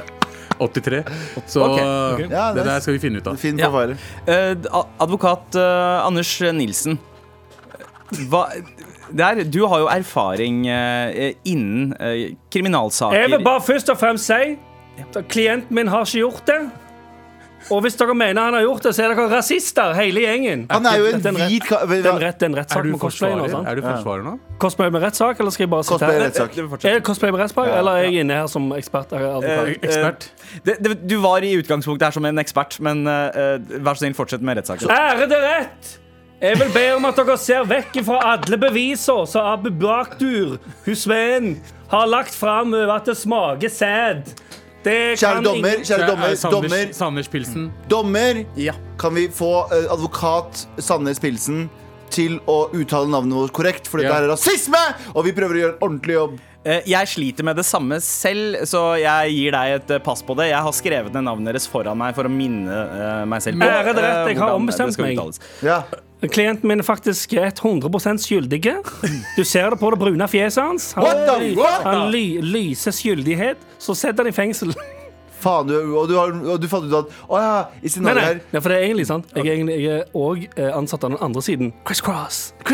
B: 83. Så
E: Ok,
B: eh,
C: Ja,
B: det
C: nice.
B: der skal vi finne ut av.
C: Fin
E: Ja.
C: profiler.
E: Eh, a- advokat eh, Anders Nilsen. Hva der, Du har jo erfaring eh, innen eh,
D: Jeg
E: kriminalsaker.
D: vil bare først og fremst si at klienten min har ikke gjort det. Og hvis dere mener han har gjort det, så er dere rasister, hele gjengen.
C: Han er jo en
D: Dette er en
C: hvit ka...
D: Det er en rett- det er en
B: Er
D: rettssak
B: du
D: med cosplay nå.
B: forsvarer,
D: sant?
B: er du forsvarer nå?
D: Cosplay med rettssak, eller skal jeg bare sitte
C: Cosplay
D: her?
C: rettssak.
E: Eh,
D: Er det cosplay med rettssak, eller er jeg inne her som ekspert? Er jeg advokat?
B: Eh, Ekspert.
E: Eh, Det, det, du var i utgangspunktet her som en ekspert, men eh, eh, vær så snill, fortsett med rettssaken.
D: Ærede rett! Jeg vil be om at dere ser vekk fra alle beviser som Abu Bakdur, Hussein, har lagt fram over at det smaker sæd. Det
C: Kjære
D: kan
C: dommer,
D: ingen-
C: kjære dommer,
B: Eh, Sanders,
C: dommer, Mm.
B: Sanders Pilsen.
C: dommer!
E: Ja.
C: Kan vi få eh, advokat Sandnes Pilsen til å uttale navnet vårt korrekt? For dette
B: Ja.
C: her er rasisme! Og vi prøver å gjøre en ordentlig jobb.
E: Eh, jeg sliter med det samme selv, så jeg gir deg et eh, pass på det. Jeg har skrevet ned navnet deres foran meg for å minne eh, meg selv på
D: Ærede rett, jeg
E: eh,
D: har
E: hvordan det
D: ombestemt
E: skal
D: meg.
E: uttales.
C: Ja.
D: Klienten min er faktisk 100 skyldig. Du ser det på det brune fjeset hans. Han,
C: What the- what the-
D: han ly, lyser skyldighet, så setter han i fengsel.
C: Faen, du, og, du har, og du fant ut at Å ja, i
D: Nei,
C: scenarioet
D: nei,
C: her
D: nei, for det er egentlig sant. Jeg er egentlig- jeg er òg ansatt av den andre siden. Criss Cross. Så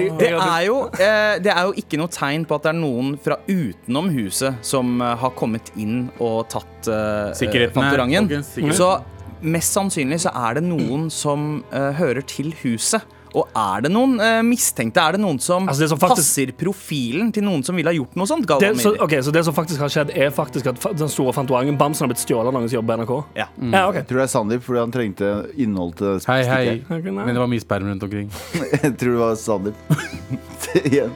D: jeg,
E: Det
D: jeg, hadde-
E: er, jo, eh, det er jo ikke noe tegn på at det er noen fra utenom huset som eh, har kommet inn og tatt eh,
B: Sikkerheten er-
E: Fantorangen.
B: folkens, sikkerheten.
E: Så mest sannsynlig så er det noen som eh, hører til huset. Og er det noen eh, mistenkte? Er det noen som,
D: Altså, det som faktisk-
E: passer profilen til noen som ville ha gjort noe sånt? Galvan
D: det, så,
E: Midi?
D: ok, så det som faktisk har skjedd, er faktisk at fa- den store fantoangen Bamsen har blitt stjålet av noen som jobber i NRK?
E: Ja.
D: Ja, ok.
C: Tror det er Sandeep fordi han trengte innhold til det
B: Hei, hei.
D: Ok, nei.
B: Men det var mye sperm rundt omkring.
C: Jeg tror det var Sandeep. Igjen.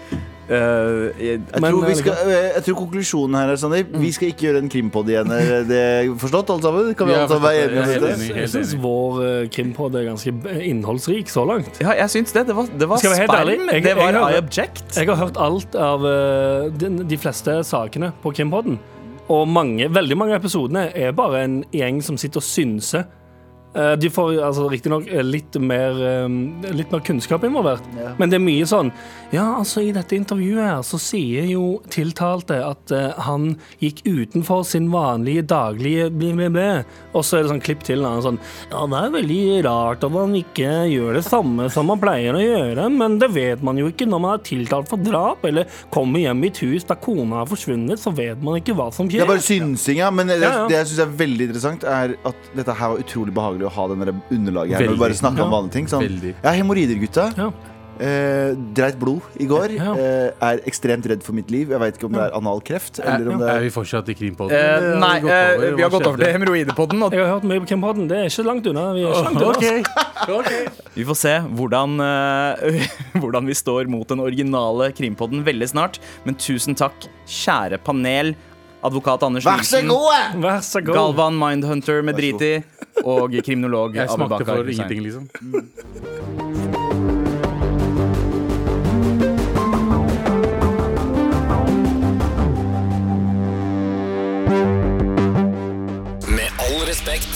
E: jeg,
C: Jeg,
D: Men,
C: tror vi
D: eh,
C: skal, eh, jeg tror konklusjonen her er Sandeep. Vi skal ikke gjøre en krimpod igjen. Er det forstått, alle sammen? Kan vi
B: Ja,
C: alle sammen være
B: forstått. Jeg er
C: enige om
B: helt
C: dette?
B: enig.
D: Jeg syns vår uh, krimpod er ganske b- innholdsrik så langt.
E: ja, jeg syns det. Det var, det var
D: Skal jeg være helt ærlig?
E: sperm.
D: Jeg- jeg
E: det var
D: hører-
E: I object.
D: Jeg har hørt alt av eh, de, de fleste sakene på krimpoden. Og mange, veldig mange av episodene er bare en gjeng som sitter og synser. Eh, De får altså, riktignok eh, litt, mer, eh, litt mer kunnskap involvert, men det er mye sånn Ja, altså, i dette intervjuet her så sier jo tiltalte at eh, han gikk utenfor sin vanlige daglige bli, bli, bli. Og så er det sånn klipp til, og han er sånn Ja, det er veldig rart at han ikke gjør det samme som han pleier å gjøre, men det vet man jo ikke når man er tiltalt for drap, eller kommer hjem i et hus der kona er forsvunnet, så vet man ikke hva som
C: Det er
D: skjer.
C: bare synsing, ja. Men det,
D: Ja, ja.
C: det jeg syns er veldig interessant, er at dette her var utrolig behagelig å ha den der underlaget her. Når
B: Veldig.
C: vi bare snakker om
D: Ja.
C: vanlige ting. Sånn.
B: Veldig.
C: Ja, hemoroider, gutta.
D: Ja.
C: Eh, dreit blod i går.
D: Ja.
C: Eh, er ekstremt redd for mitt liv. Jeg veit ikke om det er analkreft eller om det
B: Er
C: er
B: vi fortsatt i Krimpodden?
E: Eh,
B: Eller
E: nei, eh, vi har
B: Hva
E: gått over til
B: skjedde?
E: hemoroidepodden. Og
D: Jeg har hørt mye på Krimpodden, det er ikke langt unna. Vi er ikke langt unna.
B: Ok.
E: altså- Vi får se hvordan, eh, hvordan vi står mot den originale krimpodden veldig snart. Men tusen takk, kjære panel, advokat Anders
C: Vær så
E: Nilsen,
C: god!
D: Vær så god.
E: Galvan Mindhunter
C: så god.
E: Medriti og kriminolog
B: Jeg smakte
E: Abubakar
B: for
E: Hussein.
B: ingenting, liksom.
F: Med all respekt.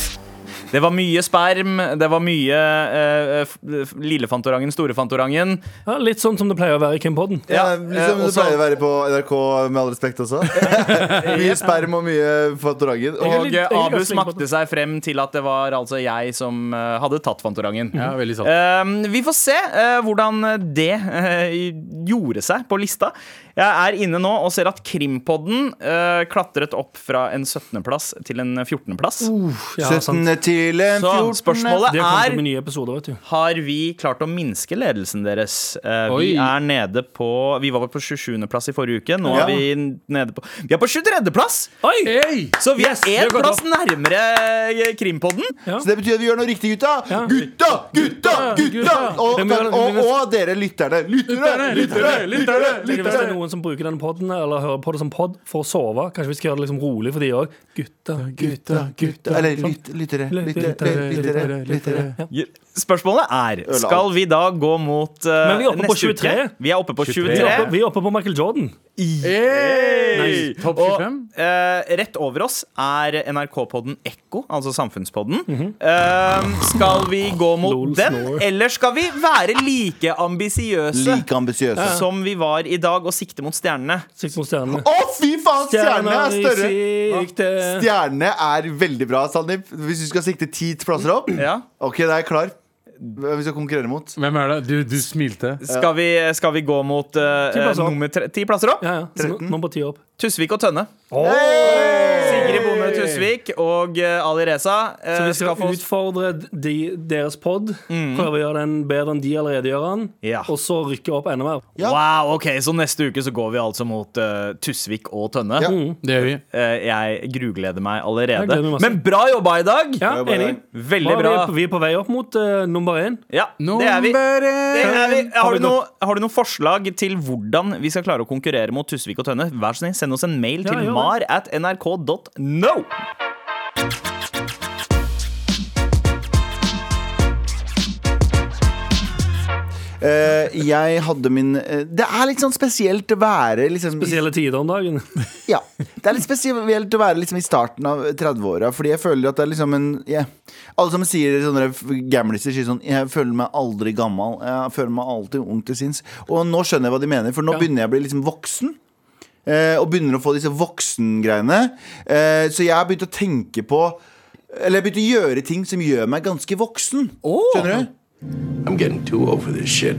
E: Det var mye sperm, det var mye eh, f- f- lille Fantorangen, store Fantorangen.
D: Ja, litt sånn som det pleier å være i Krimpodden.
C: Ja,
E: Ja,
C: liksom
E: eh,
C: det
E: også-
C: pleier å være på NRK, med all respekt også. mye sperm og mye Fantorangen. Og
E: Og
D: litt- jeg er
E: Abu
D: litt slem på
E: smakte seg frem til at det var altså jeg som eh, hadde tatt Fantorangen.
B: Ja, veldig sant.
E: Ehm, Eh, vi får se eh, hvordan det eh, gjorde seg på lista. Eh, Jeg er inne nå og ser at Krimpodden eh, klatret opp fra en 17.-plass til en 14.-plass.
D: Ja,
C: 17.
D: sant.
C: til en
E: Så
C: 14.
E: spørsmålet
D: Det kommer
E: er
D: til med nye episoder, vet du.
E: Har vi klart å minske ledelsen deres? Eh, vi
B: Oi.
E: er nede på Vi var på 27.-plass i forrige uke. Nå er
C: Ja.
E: vi nede på Vi er på 23.-plass!
B: Eh,
D: Oi!
E: Så vi
D: Yes, vi
E: er
D: har
E: én
D: gått
E: plass nærmere Krimpodden.
C: Så det betyr at vi gjør noe riktig, gutta. Gutta, gutta, gutta! Og,
D: Det må være-
C: og, og dere lytterne. Lyttere, lyttere, lyttere!
D: Tenk Hvis det er
C: lyttere.
D: noen som bruker den podden eller hører på det som pod for å sove, kanskje vi skal gjøre det liksom rolig for de òg. Gutta, gutta, gutta. Sånn.
C: Eller lyt- lyttere, lyttere, lyttere. lyttere.
E: Spørsmålet er Skal vi da gå mot eh,
D: Men vi er oppe på
E: neste uke?
D: 23.
E: Vi er oppe på 23.
D: Vi er, oppe, vi er oppe på Michael Jordan.
E: Hey!
B: Nice. Topp
E: Og
B: 25?
E: eh, rett over oss er NRK-podden Ekko, altså Samfunnspodden. Eh, skal vi gå mot
D: Mhm. Lol,
E: den,
D: snore.
E: eller skal vi være like ambisiøse
C: Like ambisiøse.
E: som vi var i dag, og sikte mot stjernene?
D: Sikt mot stjernene.
C: Å, fy faen! Stjernene er større.
D: i sikte.
C: Stjernene er veldig bra, Sandeep. Hvis du skal sikte ti plasser opp,
E: Ja.
C: OK, da er jeg klar. Hvem vi skal konkurrere mot?
B: Hvem er det? Du, du smilte.
E: Skal vi, skal vi gå mot eh,
D: plasser opp.
E: nummer tre, ti plasser opp?
D: Ja, ja. Så nå- Nå på ti opp.
E: Tusvik og Tønne. Sigrid Bonde Tusvik og eh, Ali Reza eh,
D: Så vi skal,
E: skal få Mm.
D: utfordre de, deres pod, prøve å gjøre den bedre enn de allerede gjør den,
E: Ja.
D: og så rykke opp enda mer.
C: Ja.
E: Wow, ok, Så neste uke så går vi altså mot eh, Tusvik og Tønne.
C: Ja.
B: Det gjør vi.
E: Eh, jeg grugleder meg
D: Jeg
E: allerede.
D: gleder meg masse.
E: Men bra jobba i dag!
D: Ja,
C: Det er bare
D: enig.
C: det.
D: Bra,
E: Veldig bra.
D: Vi er, på, vi er på vei opp mot eh, nummer én.
E: Ja, det er vi.
B: Nummer én.
E: Det er vi.
D: Har
E: Har,
D: vi
E: du noe, har du noen forslag til hvordan vi skal klare å konkurrere mot Tusvik og Tønne? Vær så snill, send oss en mail
D: Ja,
E: til
D: gjør det.
E: mar at nrk.no.
C: Eh, jeg hadde min eh, Det er litt sånn spesielt å være liksom, i-
D: Spesielle tider om dagen.
C: Ja. Det er litt spesielt å være liksom, i starten av 30-åra, fordi jeg føler at det er liksom en jeg- Alle som sier sånne gamliser, sier sånn Jeg føler meg aldri gammel. Jeg føler meg alltid ung til sinns. Og nå skjønner jeg hva de mener, for nå begynner jeg å bli liksom voksen. eh, Og begynner å få disse voksengreiene. Eh, Så jeg har begynt å tenke på Eller jeg har begynt å gjøre ting som gjør meg ganske voksen. Skjønner du?
G: I'm getting too old for this shit.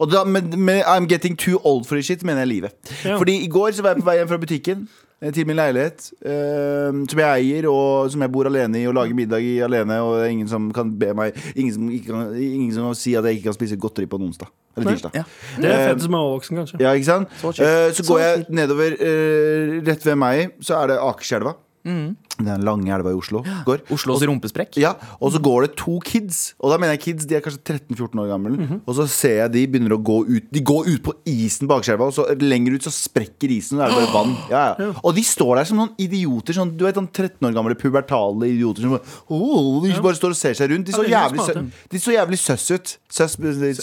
C: Og da, med, med I'm getting too old for this shit, mener jeg livet. Fordi i går så var jeg på vei hjem fra butikken eh, til min leilighet, eh, som jeg eier, og som jeg bor alene i, og lager middag i alene, og det er ingen som kan be meg Ingen som, ikke kan, ingen som kan si at jeg ikke kan spise godteri på en onsdag. Eller tirsdag.
D: Det er fett som er overvoksen, kanskje.
C: Ja, ikke sant? Eh, Så, går jeg nedover eh, rett ved meg, så er det Akerselva. Mm. Den lange elva i Oslo. Går.
E: Oslos rumpesprekk.
C: Ja, og så går det to kids Og da mener jeg kids, de er kanskje 13-14 år gamle
D: Mhm.
C: Og så ser jeg de begynner å gå ut De går ut på isen bak skjerva Og så lenger ut så sprekker isen Og da er det bare vann ja, ja. Og de står der som noen idioter sånn, Du vet sånn 13 år gamle pubertale idioter Som bare, «Åh», de bare står og ser seg rundt De så
D: Ja, de er
C: jævlig, sø,
D: smarte.
C: de så jævlig søss ut Søss,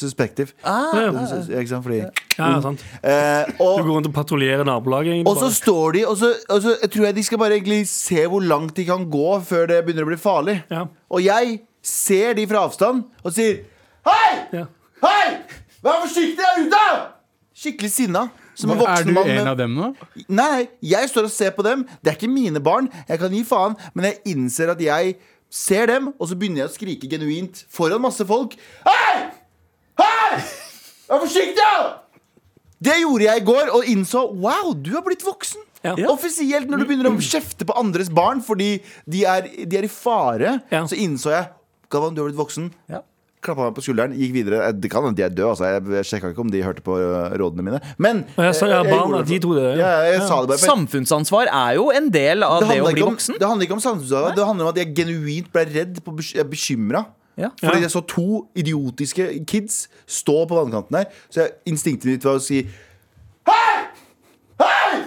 C: suspektiv sånn, Ikke sant, fordi
D: Ah, Ja, ja, sant.
C: Eh, og,
D: Du går rundt og patruljerer nabolaget. egentlig
C: og så
D: bare.
C: står de, og så, og så jeg tror jeg de skal bare egentlig se hvor langt de kan gå før det begynner å bli farlig.
D: Ja.
C: Og jeg ser de fra avstand og sier Hei!
D: Ja.
C: Hei! Vær forsiktig der ute! Skikkelig sinna. Som en
B: Er
C: voksen
B: du
C: mann.
B: en
C: med-
B: av dem nå?
C: Nei, nei, jeg står og ser på dem. Det er ikke mine barn. Jeg kan gi faen, men jeg innser at jeg ser dem, og så begynner jeg å skrike genuint foran masse folk. Hei! Hei! Vær forsiktig! da!» Det gjorde jeg i går, og innså wow, du har blitt voksen.
D: Ja.
C: Offisielt når du begynner å kjefte på andres barn fordi de er, de er i fare,
D: Ja.
C: så innså jeg Galvan, du har blitt voksen.
E: Ja.
C: Klappa meg på skulderen, gikk videre. Eh, Det kan hende de er døde, altså. Jeg, jeg sjekka ikke om de hørte på eh, rådene mine. Men
D: Og jeg sa, ja,
C: eh,
D: barna,
C: gjorde det for-
D: de to døde, ja.
C: Ja, jeg, sa det bare for-
E: Samfunnsansvar er jo en del av det, å
C: handler
E: bli
C: ikke om-
E: voksen.
C: Det handler ikke om samfunnsansvar. Det handler om at jeg genuint ble redd, på, bes- jeg er bekymra.
E: Ja.
C: Fordi
D: Ja.
C: jeg så to idiotiske kids stå på vannkanten her. Så jeg, instinktet mitt var å si Hei! Hei!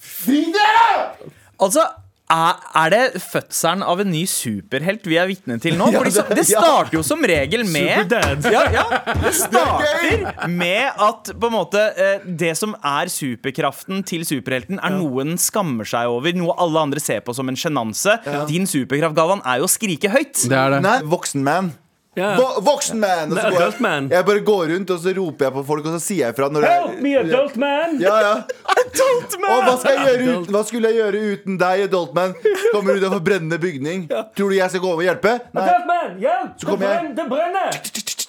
C: Fri dere!
E: Altså, er, er det fødselen av en ny superhelt vi er vitne til nå?
C: Ja,
E: Fordi så,
C: det-
E: det
C: ja.
E: starter jo som regel med
D: Superdad.
E: ja, ja, Det starter med at på en måte eh, det som er superkraften til superhelten, er noe den skammer seg over, noe alle andre ser på som en sjenanse. Din superkraft, Galvan, er jo å skrike høyt.
B: Det er det.
C: Nei, voksen man.
D: Ja.
C: Vo voksen man! Og
D: Det
C: så
D: er
C: går
D: adult man.
C: jeg, jeg bare går rundt og så roper jeg på folk, og så sier jeg fra når
D: Help me,
C: jeg
D: adult man!
C: ja, ja. Og hva, skal jeg gjøre uten, hva skulle jeg gjøre uten deg, adult man? Kommer ut av en brennende bygning. Tror du jeg skal gå over og hjelpe? Nei.
D: Adult man, hjelp!
C: kommer jeg.
D: Det brenner!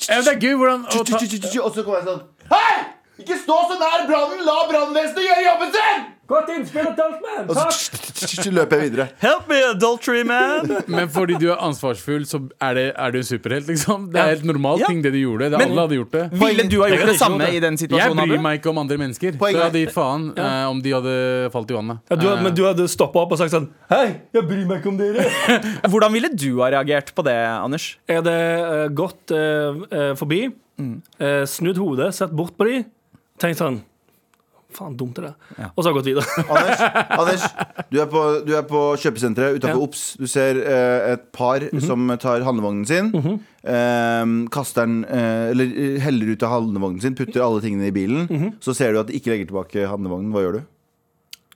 B: Ja, men det er gøy hvordan å ta
C: Og så kommer jeg sånn Hei! Ikke stå så nær brannen! La brannvesenet gjøre jobben sin!
D: Godt innspill, Dolphman!
C: Og så løper jeg videre.
E: Help me, adultery man!
B: Men fordi du er ansvarsfull, så er, det, er du en superhelt, liksom. Det er helt normal
E: Ja.
B: ting, det du gjorde. Det
E: Men-
B: alle hadde gjort det.
E: Ville du ha
B: Jeg
E: gjort
B: hadde
E: det
B: ikke
E: samme
B: gjort det.
E: i den
B: Jeg
E: situasjonen?
B: bryr
E: Abu?
B: meg ikke om andre mennesker. Så
C: Poenget-
B: jeg hadde gitt faen eh, om de hadde falt i vannet.
D: Ja, du,
B: Eh,
D: hadde- men du hadde stoppa opp og sagt sånn Hei, jeg bryr meg ikke om dere.
E: Hvordan ville du ha reagert på det, Anders?
D: Jeg hadde eh, gått eh, eh, forbi, eh, snudd hodet, sett bort på de, tenkt sånn Faen, dumt det der. Og så har jeg gått videre.
C: Anders, Anders du, er på, du er på kjøpesenteret utenfor
D: Ja. Mhm.
C: OBS. Du ser eh, et par som tar handlevognen sin. eh, kaster den eh, Eller eh, heller ut av handlevognen sin, putter alle tingene i bilen.
D: Mhm.
C: Så ser du at de ikke legger tilbake handlevognen. Hva gjør du?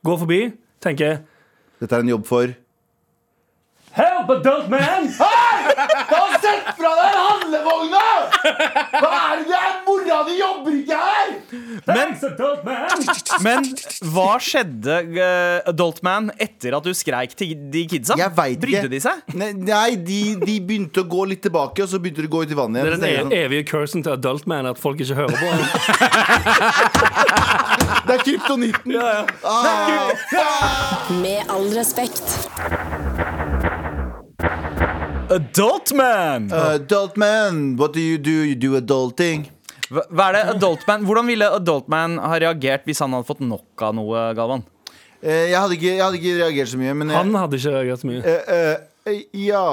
D: Går forbi, tenker
C: Dette er en jobb for
D: Help, adult man!
C: Da Sett fra deg handlevogna! Hva er det der? Mora di jobber ikke her!
E: Men,
D: adult man!
E: men hva skjedde, eh, adult man, etter at du skreik til de kidsa?
C: Jeg vet
E: Brydde
C: ikke.
E: de seg?
C: Nei, nei de, de begynte å gå litt tilbake, og så begynte de å gå ut i vannet igjen.
D: Det er
C: Så tenker jeg
D: den
C: sånn,
D: e- evige cursen til adult man at folk ikke hører på. ham.
C: sånn, Det er kryptonitten! Ah,
A: Med all respekt.
E: Adult man!
C: Uh, adult man, what do you do? You do adulting.
E: Hva hva er det adult man? Hvordan ville adult man ha reagert hvis han hadde fått nok av noe, Galvan?
C: Eh, Jeg hadde, ikke, jeg hadde ikke reagert så mye, men jeg,
D: Han hadde ikke reagert så mye.
C: eh, eh, eh, Ja,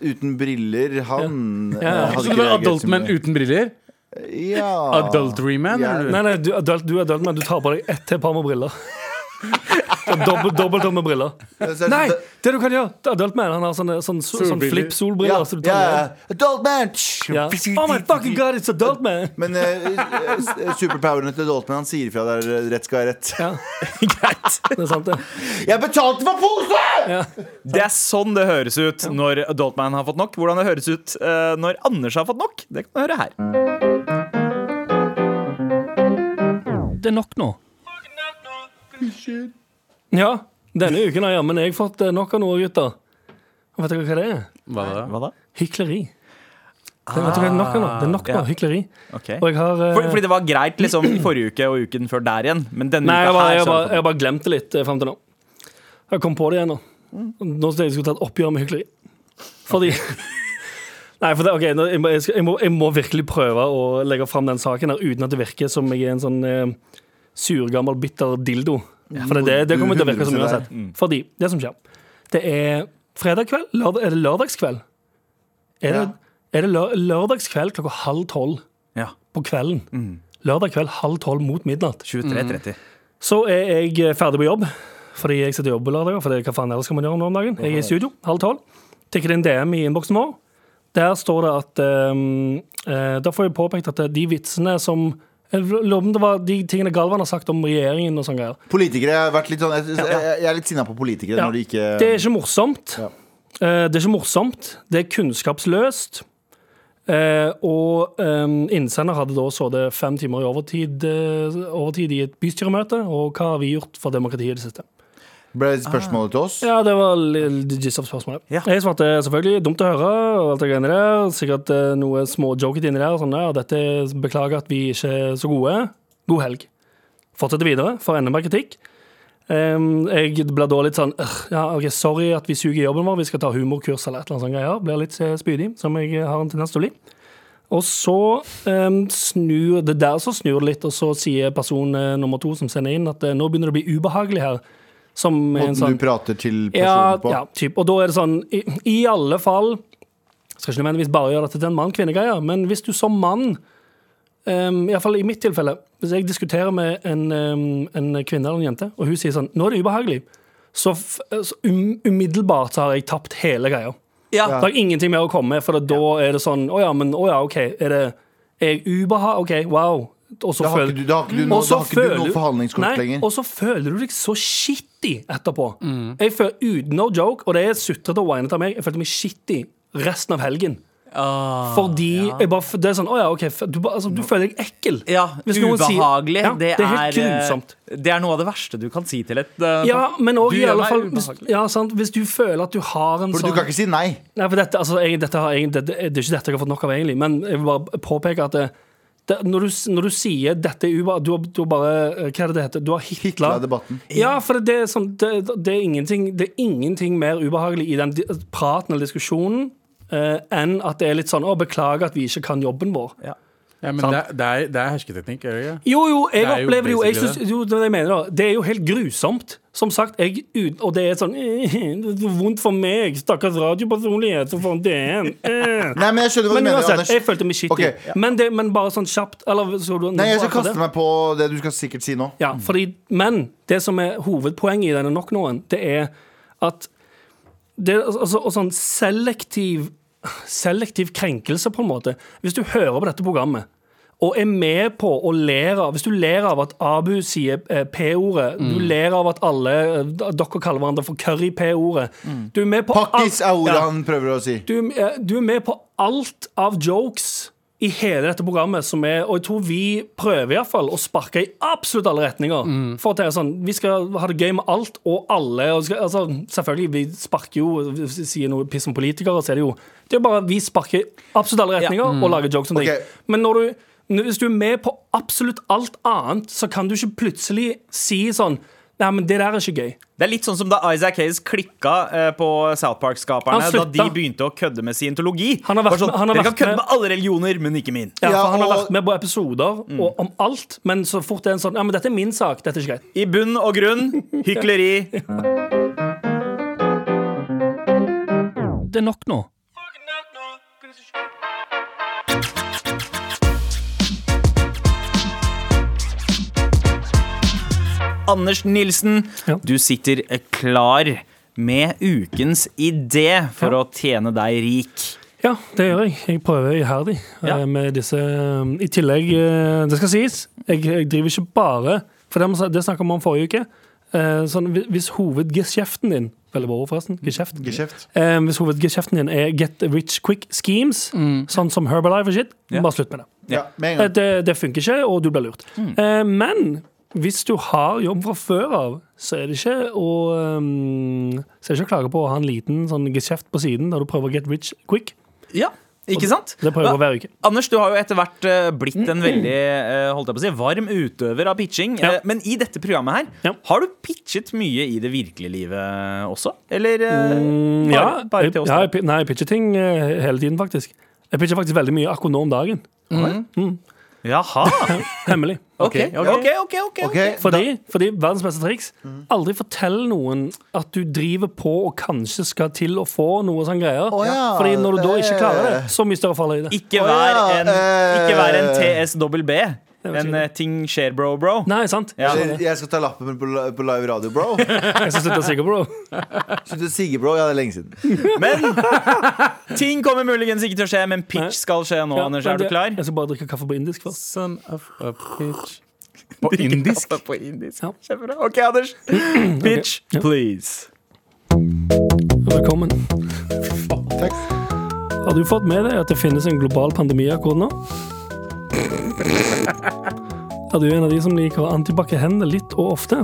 C: uten briller. Han
D: Ja. Ja.
C: eh, hadde
B: Så du
C: ikke
B: var
C: reagert
B: adult
C: så mye.
B: man uten briller?
C: Ja.
B: Adultery man?
C: Ja.
B: eller?
D: Nei, nei, du, adult, du er adult man. Du tar på deg ett til par med briller. Og Dobbelt, dobbelt opp med briller.
C: Så er det
D: Nei,
C: sånn-
D: det du kan gjøre til adult man, han har sånne, sånn, sånn
B: Solbriller.
C: ja,
D: flip-solbriller. så du tar
C: ja,
D: med
C: ja.
D: deg.
C: Adult man!
D: Ja. Oh my fucking god, it's adult man!
C: Men eh, eh, superpoweren til adult man, han sier ifra der eh, rett skal være rett.
D: Ja,
E: Greit.
D: det er sant, det.
C: Jeg betalte for pose!
E: Det er sånn det høres ut når adult man har fått nok. Hvordan det høres ut eh, når Anders har fått nok, det kan du høre her.
D: Det er nok nå. Ja, denne uken har jammen jeg fått eh, nok av noe, gutter. Og Vet dere hva det er?
B: Hva da?
E: Hva da?
D: Hykleri. Det, vet dere, hva det er nok av nå. Det er nok nå,
E: Ah, ja.
D: hykleri.
E: Ok.
D: Og jeg har eh,
E: For, fordi det var greit liksom i forrige uke og uken før der igjen, men denne
D: Nei, jeg
E: uka
D: bare,
E: her
D: jeg
E: så
D: bare,
E: har du fått nok.
D: jeg bare glemte det litt eh, frem til nå. Jeg kom på det igjen nå. Nå skulle jeg skulle ta et oppgjør med hykleri. Fordi Nei, for det, ok, nå, jeg, må, jeg, skal, jeg, må, jeg må virkelig prøve å legge fram den saken her uten at det virker som jeg er en sånn eh, sur, gammel, bitter dildo. For det, det, det kommer til å virke som
C: 100%
D: uansett. Fordi det som skjer, det er fredag kveld. Lørdag, er det lørdagskveld? Er det, er det lø- lørdagskveld klokka halv tolv
E: Ja.
D: på kvelden? Lørdag kveld halv tolv mot midnatt.
C: Mm.
E: 23.30.
D: Så er jeg ferdig på jobb, fordi jeg sitter og jobber lørdager. For hva faen ellers skal man gjøre om dagen? Jeg er i studio, halv tolv. Tikker det en DM i innboksen vår. Der står det at ehm, eh, Da får jeg påpekt at de vitsene som jeg lurer på om det var de tingene Galvan har sagt om regjeringen og sånne greier.
C: Politikere har vært litt sånn Jeg, jeg, jeg er litt sinna på politikere
D: Ja.
C: når de ikke
D: Det er ikke morsomt. Eh, Det er ikke morsomt. Det er kunnskapsløst. Eh, og ehm, innsender hadde da sittet fem timer i overtid, eh, overtid i et bystyremøte. Og hva har vi gjort for demokratiet i det siste?
C: Ble spørsmålet til oss?
D: Ah. Ja, det var litt gist av spørsmålet.
E: Ja.
D: Jeg svarte selvfølgelig dumt å høre. og alt det greiene der. Sikkert eh, noe småjoket inni der. og Sånn, ja, dette Beklager at vi ikke er så gode. God helg. Fortsetter videre, får enda mer kritikk. Ehm, jeg blir da litt sånn «Ugh, ja, ok, Sorry at vi suger i jobben vår, vi skal ta humorkurs eller et eller annet sånt greier. Blir litt eh, spydig, som jeg har en tendens til å bli. Og så ehm, snur det der så snur det litt, og så sier person eh, nummer to som sender inn, at eh, nå begynner det å bli ubehagelig her. Som er
C: Måten
D: en sånn
C: du prater til personen
D: ja,
C: på?
D: ja, typ. Og da er det sånn, i, i alle fall Skal ikke nødvendigvis bare gjøre dette til en mann-kvinne-greie, men hvis du som mann um, Iallfall i mitt tilfelle. Hvis jeg diskuterer med en, em, en kvinne eller en jente, og hun sier sånn 'Nå er det ubehagelig', så, f så um, umiddelbart så har jeg tapt hele greia.
E: Ja.
D: Det har ingenting mer å komme med, for da er det sånn 'Å ja, men å ja, OK, er det Er jeg ubeha... OK, wow.' Og så
C: Da har
D: føler-
C: ikke du, da har ikke du, noe-
D: og så
C: da har ikke du
D: føler-
C: noe forhandlingskort
D: Nei,
C: lenger.
D: Og så føler du deg så shitty etterpå.
E: Mm.
D: Jeg føler, ut, No joke, og det er sutrete og whinete av meg, jeg følte meg shitty resten av helgen.
E: Ah,
D: Fordi jeg bare, f- Det er sånn, å ja, ok f- Du, bare- altså, du føler deg ekkel.
E: Ja,
D: Hvis noen sier-
E: ubehagelig.
D: Ja,
E: det,
D: det er helt
E: eh,
D: grunnsomt.
E: Det er noe av det verste du kan si til et eh,
D: Ja, men òg
E: Du
D: i
E: gjør
D: alle
E: meg
D: fall hvis,
E: ubehagelig.
D: ja, sant, hvis du føler at du har en
C: For
D: sånn
C: du kan ikke si nei.
D: Nei, for dette, altså, jeg, dette har jeg, det, det er ikke dette jeg har fått nok av, egentlig. Men jeg vil bare påpeke at det, det, når, du, s- når du sier 'dette er Uber', du har, du har bare eh, Hva er det det heter? Du har hitla
C: Hitla debatten.
D: Ja, for det er, sånn, det, det, er ingenting, det er ingenting mer ubehagelig i den di- praten eller diskusjonen eh, enn at det er litt sånn 'Å, beklager at vi ikke kan jobben vår'.
B: Ja, men det, er- det, er, det er hersketeknikk, er det ikke?
D: Jo, jo,
B: Det
D: jeg
B: er jo
D: opplever det jo. Jeg
B: basically
D: synes, jo det, er det, jeg mener, da. det er jo helt grusomt. Som sagt, jeg, ut- og det er sånn Det er vondt for meg, stakkars radiopersonlighet, så får han DN. eh.
C: Nei, men jeg skjønner hva
D: Men
C: du mener.
D: uansett,
C: Anders.
D: jeg følte meg skittig.
C: Ok.
D: Men, det, men bare sånn kjapt eller, så du,
C: Nei, jeg skal
D: bare det.
C: kaste meg på det du skal sikkert si nå.
D: Ja, fordi, men det som er hovedpoenget i denne nok noen, det er at det er altså, og sånn selektiv, selektiv krenkelse, på en måte. Hvis du hører på dette programmet og er med på å ler av Hvis du ler av at Abu sier eh, P-ordet, du
C: Mm.
D: ler av at alle eh, dere kaller hverandre for curry-P-ordet Du er med på alt-
C: Mm. Pakkis er ordet
D: Ja.
C: han prøver å si.
D: Du, eh, du er med på alt av jokes i hele dette programmet, som er, og jeg tror vi prøver i hvert fall å sparke i absolutt alle retninger. For at det er sånn, Vi skal ha det gøy med alt og alle. og skal, altså, Selvfølgelig, vi sparker jo vi Sier noe piss om politikere, så er det jo Det er bare at vi sparker absolutt alle retninger og lager jokes om
C: Ok.
D: ting. Men når du, n- hvis du er med på absolutt alt annet, så kan du ikke plutselig si sånn Nei, men det der er ikke gøy.
E: Det er litt sånn som da Isaac Hayes klikka eh, på South Park-skaperne
D: Han
E: da
D: slutta.
E: de begynte å kødde med scientologi.
D: Han har vært
E: Bare sånn,
D: med- han har
E: Dere
D: vært
E: kan
D: med-
E: kødde med alle religioner, men ikke min.
D: Ja,
C: Ja,
D: for Han har
C: og- Mm.
D: vært med på episoder og om alt, men så fort det er en sånn Ja, men dette er min sak. Dette er ikke greit.
E: I bunn og grunn hykleri.
D: Det er nok nå.
E: Anders Nilsen,
D: Ja.
E: du sitter eh, klar med ukens idé for å tjene deg rik.
D: Ja, det gjør jeg. Jeg prøver iherdig
E: Ja.
D: eh, med disse um, I tillegg, eh, det skal sies, jeg, jeg driver ikke bare For det, må- det snakka vi om forrige uke. Eh, Sånn, hvi- hvis hovedgeskjeften din Veldig bra ord, forresten. Geskjeft.
C: Geskjeft.
D: Eh, Hvis hovedgeskjeften din er get rich quick schemes, sånn som Herbalife og shit, bare slutt med det.
C: Ja, med en
D: Eh,
C: gang.
D: Det, det funker ikke, og du blir lurt.
E: Mm.
D: Eh, men hvis du har jobb fra før av, så er det ikke å, ehm, så er det ikke å klage på å ha en liten sånn geskjeft på siden der du prøver å get rich quick.
E: Ja, ikke sant?
D: Det prøver jeg hver uke.
E: Anders, du har jo etter hvert eh, blitt en veldig eh, holdt jeg på å si, varm utøver av pitching.
D: Mm. Ja.
E: Eh, Men i dette programmet her,
D: Ja.
E: har du pitchet mye i det virkelige livet også? Eller eh, bare,
D: Mm, Ja,
E: bare til oss?
D: jeg, ja, jeg, pi- nei, jeg pitcher ting eh, hele tiden, faktisk. Jeg pitcher faktisk veldig mye akkurat nå om dagen.
E: Jaha.
D: Hemmelig.
E: Ok,
B: Ok,
E: ok, ok. ok, ok.
C: Ok, da,
D: Fordi, fordi verdens beste triks
E: Mm.
D: Aldri fortell noen at du driver på og kanskje skal til å få noe sånn greier.
C: ja,
D: Fordi når du da ikke
C: det-
D: klarer
E: Eh.
D: det, så mye større faller i det.
E: Ikke
C: Å,
E: vær
C: ja,
E: en, ikke vær en
C: eh.
E: TSWB. En eh, ting skjer, bro, bro.
D: Nei, sant?
E: Ja.
D: Jeg
C: jeg skal ta lappen min på, li- på live radio, bro.
D: skal slutte å si bro.
C: Slutt å sige, bro. Ja, det er lenge siden.
E: Men ting kommer muligens ikke til å skje, men
D: Nei.
E: pitch skal skje nå,
D: Ja,
E: Anders.
D: men
E: Er du
D: det-
E: klar?
D: Jeg skal bare drikke kaffe på indisk først.
B: Son of a bitch. På indisk?
E: På indisk.
D: Ja.
E: Kjempebra. OK, Anders. Pitch,
D: Ja.
E: please.
D: Velkommen. Har du fått med deg at det finnes en global pandemi akkurat nå? Er du en av de som liker å antibac i hendene litt og ofte?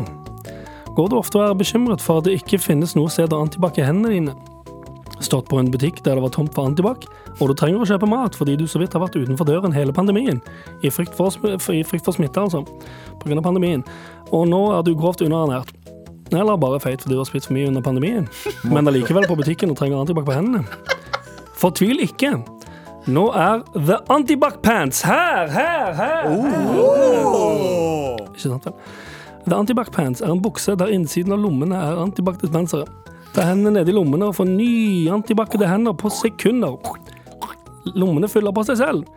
D: Går du ofte og er bekymret for at det ikke finnes noe sted å antibac i hendene dine? Stått på en butikk der det var tomt for antibac, og du trenger å kjøpe mat fordi du så vidt har vært utenfor døren hele pandemien, i frykt for, sm- i frykt for smitte, altså, på grunn av pandemien. Og nå er du grovt underernært. Eller bare feit fordi du har spist for mye under pandemien. Men allikevel på butikken og trenger antibac på hendene. Fortvil ikke. Nå er The Antibac Pants her, her, her! Oh. Ikke sant, vel? The Antibac Pants er en bukse der innsiden av lommene er antibac-dispensere. Ta hendene ned i lommene og få nyantibac-ede hender på sekunder. Lommene fyller på seg selv.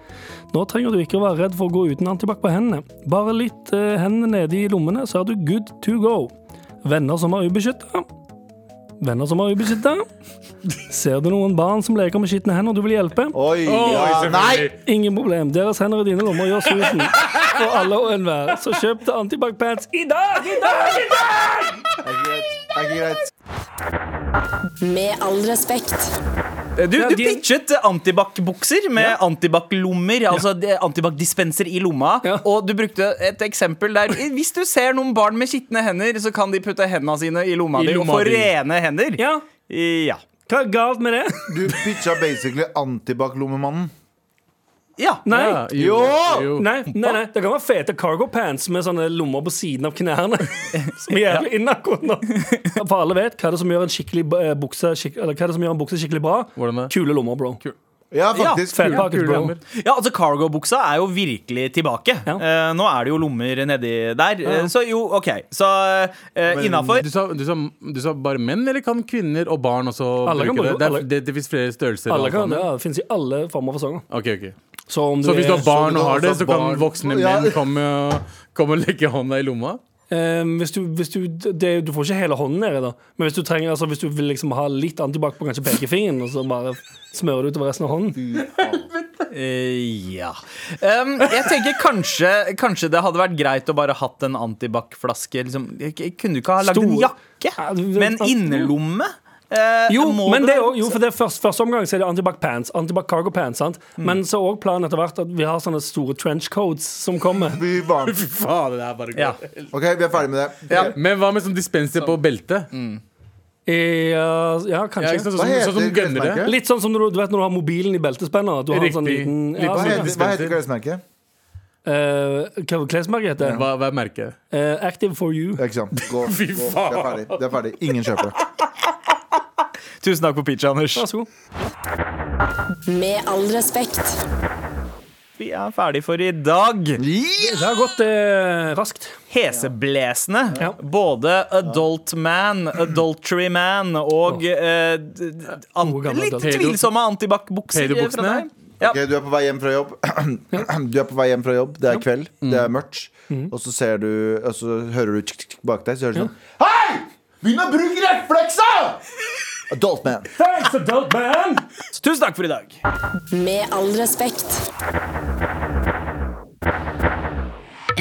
D: Nå trenger du ikke å være redd for å gå uten antibac på hendene. Bare litt eh, hendene nede i lommene, så er du good to go. Venner som er ubeskytta. Venner som er ubeskytta. Ser du noen barn som leker med skitne hender du vil hjelpe?
C: Oi, ja, nei!
D: Ingen problem. Deres hender i dine lommer gjør susen. For alle og enhver. Så kjøp til Antibac-pants i dag! I dag! I dag!
C: Det er ikke greit. Det er ikke greit.
A: Med all respekt.
E: Du, du
D: de-
E: pitchet eh, antibac-bukser med antibac-lommer, altså de- antibac-dispenser i lomma.
D: Ja.
E: Og du brukte et eksempel der. Hvis du ser noen barn med skitne hender, så kan de putte hendene sine i lomma
B: I
E: di og
B: lomma
E: få
B: di.
E: rene hender.
D: Ja,
E: Ja.
D: hva er galt med det?
C: Du pitcha basically antibac-lommemannen.
E: Ja.
D: Nei.
B: Ja,
C: Jo!
D: Nei, nei, nei, det kan være fete cargo pants med sånne lommer på siden av knærne. Som er jævlig innakortende. For alle vet hva er det som gjør en skikkelig eh, bukse skikk- Eller hva er det som gjør en bukse skikkelig bra.
B: Hvordan det?
D: Kule lommer, bro.
C: Ja, faktisk.
D: Fat pocket,
B: kule
D: bro.
B: lommer.
E: Ja, altså Cargo-buksa er jo virkelig tilbake.
D: Ja.
E: Eh, nå er det jo lommer nedi der. Eh, så jo, OK. Så uh, innafor.
B: Du sa, du, sa, du sa bare menn, eller kan kvinner og barn også
D: Alle kan
B: bruke det?
D: bruke-
B: Det, er-
D: alle-
B: det, det fins flere størrelser.
D: Alle kan,
B: det.
D: ja, det finnes i alle former for sanger.
B: Ok, ok
D: Så, om
B: Så hvis du
D: er-
B: har barn og har det, så kan
C: Barn.
B: voksne
C: Ja.
B: menn komme, komme og legge hånda i lomma?
D: Ehm, hvis du, hvis du, det, du får ikke hele hånden nedi, da. Men hvis du, trenger, altså, hvis du vil liksom ha litt antibac på kanskje pekefingeren, og så bare smører du utover resten av hånden
E: Eh, ja. Em, jeg tenker kanskje, kanskje det hadde vært greit å bare hatt en antibac-flaske. Liksom. K- Kunne du ikke ha lagd en
D: Stor-
E: jakke
D: Ja, du-
E: med en innerlomme? Eh,
D: Jo,
E: må
D: men
E: du-
D: det er jo, jo for det er først, første omgang så er det antibac pants. Antibac cargo pants, sant?
B: Mm.
D: Men så er òg planen etter hvert at vi har sånne store trenchcoats som kommer.
C: Fy faen.
B: Faen, det er bare
E: ja.
C: Ok, vi er ferdig med det.
B: Men hva med sånn dispenser på beltet?
D: I, uh, ja,
B: Ja, ikke sant?
D: kanskje.
B: sånn,
C: Hva
B: som-
C: heter
B: sånn som gønnere.
C: klesmerket?
D: Litt sånn som når du, du vet når du har mobilen i beltespenner. at Du har en sånn
B: Riktig.
D: liten ja,
B: Riktig.
C: Hva
D: sånn,
C: heter, hva heter klesmerket?
D: eh, Hva klesmerket heter det?
B: Hva, hva er merket?
D: Eh, Active for you.
C: Ja, Ikke sant. Gå,
B: Fy
C: gå. Det er
B: faen.
C: ferdig. Det er ferdig. Ingen kjøper det.
E: Tusen takk for pitch, Anders.
D: Vær så god.
A: Med all respekt.
E: Vi er ferdig for i dag.
D: Det har gått eh, raskt.
E: Heseblesende.
D: Ja.
E: Både adult man, adultery man og eh, d- d- an-
D: Gode gamle
E: litt
D: adult-
E: tvilsomme antibac-bukser. eh,
B: Pedobuksene.
E: fra deg. Ja.
C: Ok, du er på vei hjem fra jobb. Du er på vei hjem fra jobb, det er kveld, det er mørkt. Og så ser du Og så hører du tsk, tsk, bak deg, så hører du sånn Hei! Begynn å bruke rettfleksa! Adult man.
D: Thanks, adult man!
E: Så tusen takk for i dag.
A: Med all respekt.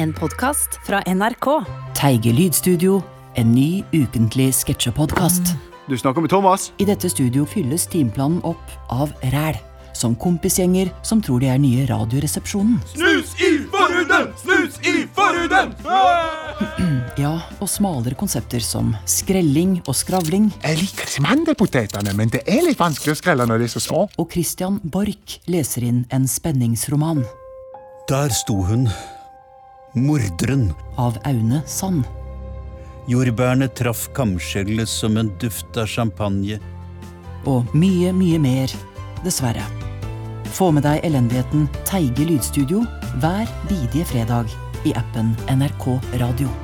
H: En podkast fra NRK. Teige Lydstudio. En ny ukentlig sketsjepodkast.
I: Du snakker med Thomas.
H: I dette studio fylles timeplanen opp av ræl. Som kompisgjenger som tror de er nye Radioresepsjonen.
G: Snus i forhuden! Snus i forhuden!
H: Ja, og smalere konsepter som skrelling og skravling.
I: Jeg liker ikke mandelpotetene, men det er litt vanskelig å skrelle når de er så små.
H: Og Christian Borch leser inn en spenningsroman
J: Der sto hun, morderen.
H: av Aune Sand.
J: Jordbærene traff kamskjellet som en duft av champagne.
H: Og mye, mye mer, dessverre. Få med deg elendigheten Teige Lydstudio hver bidige fredag i appen NRK Radio.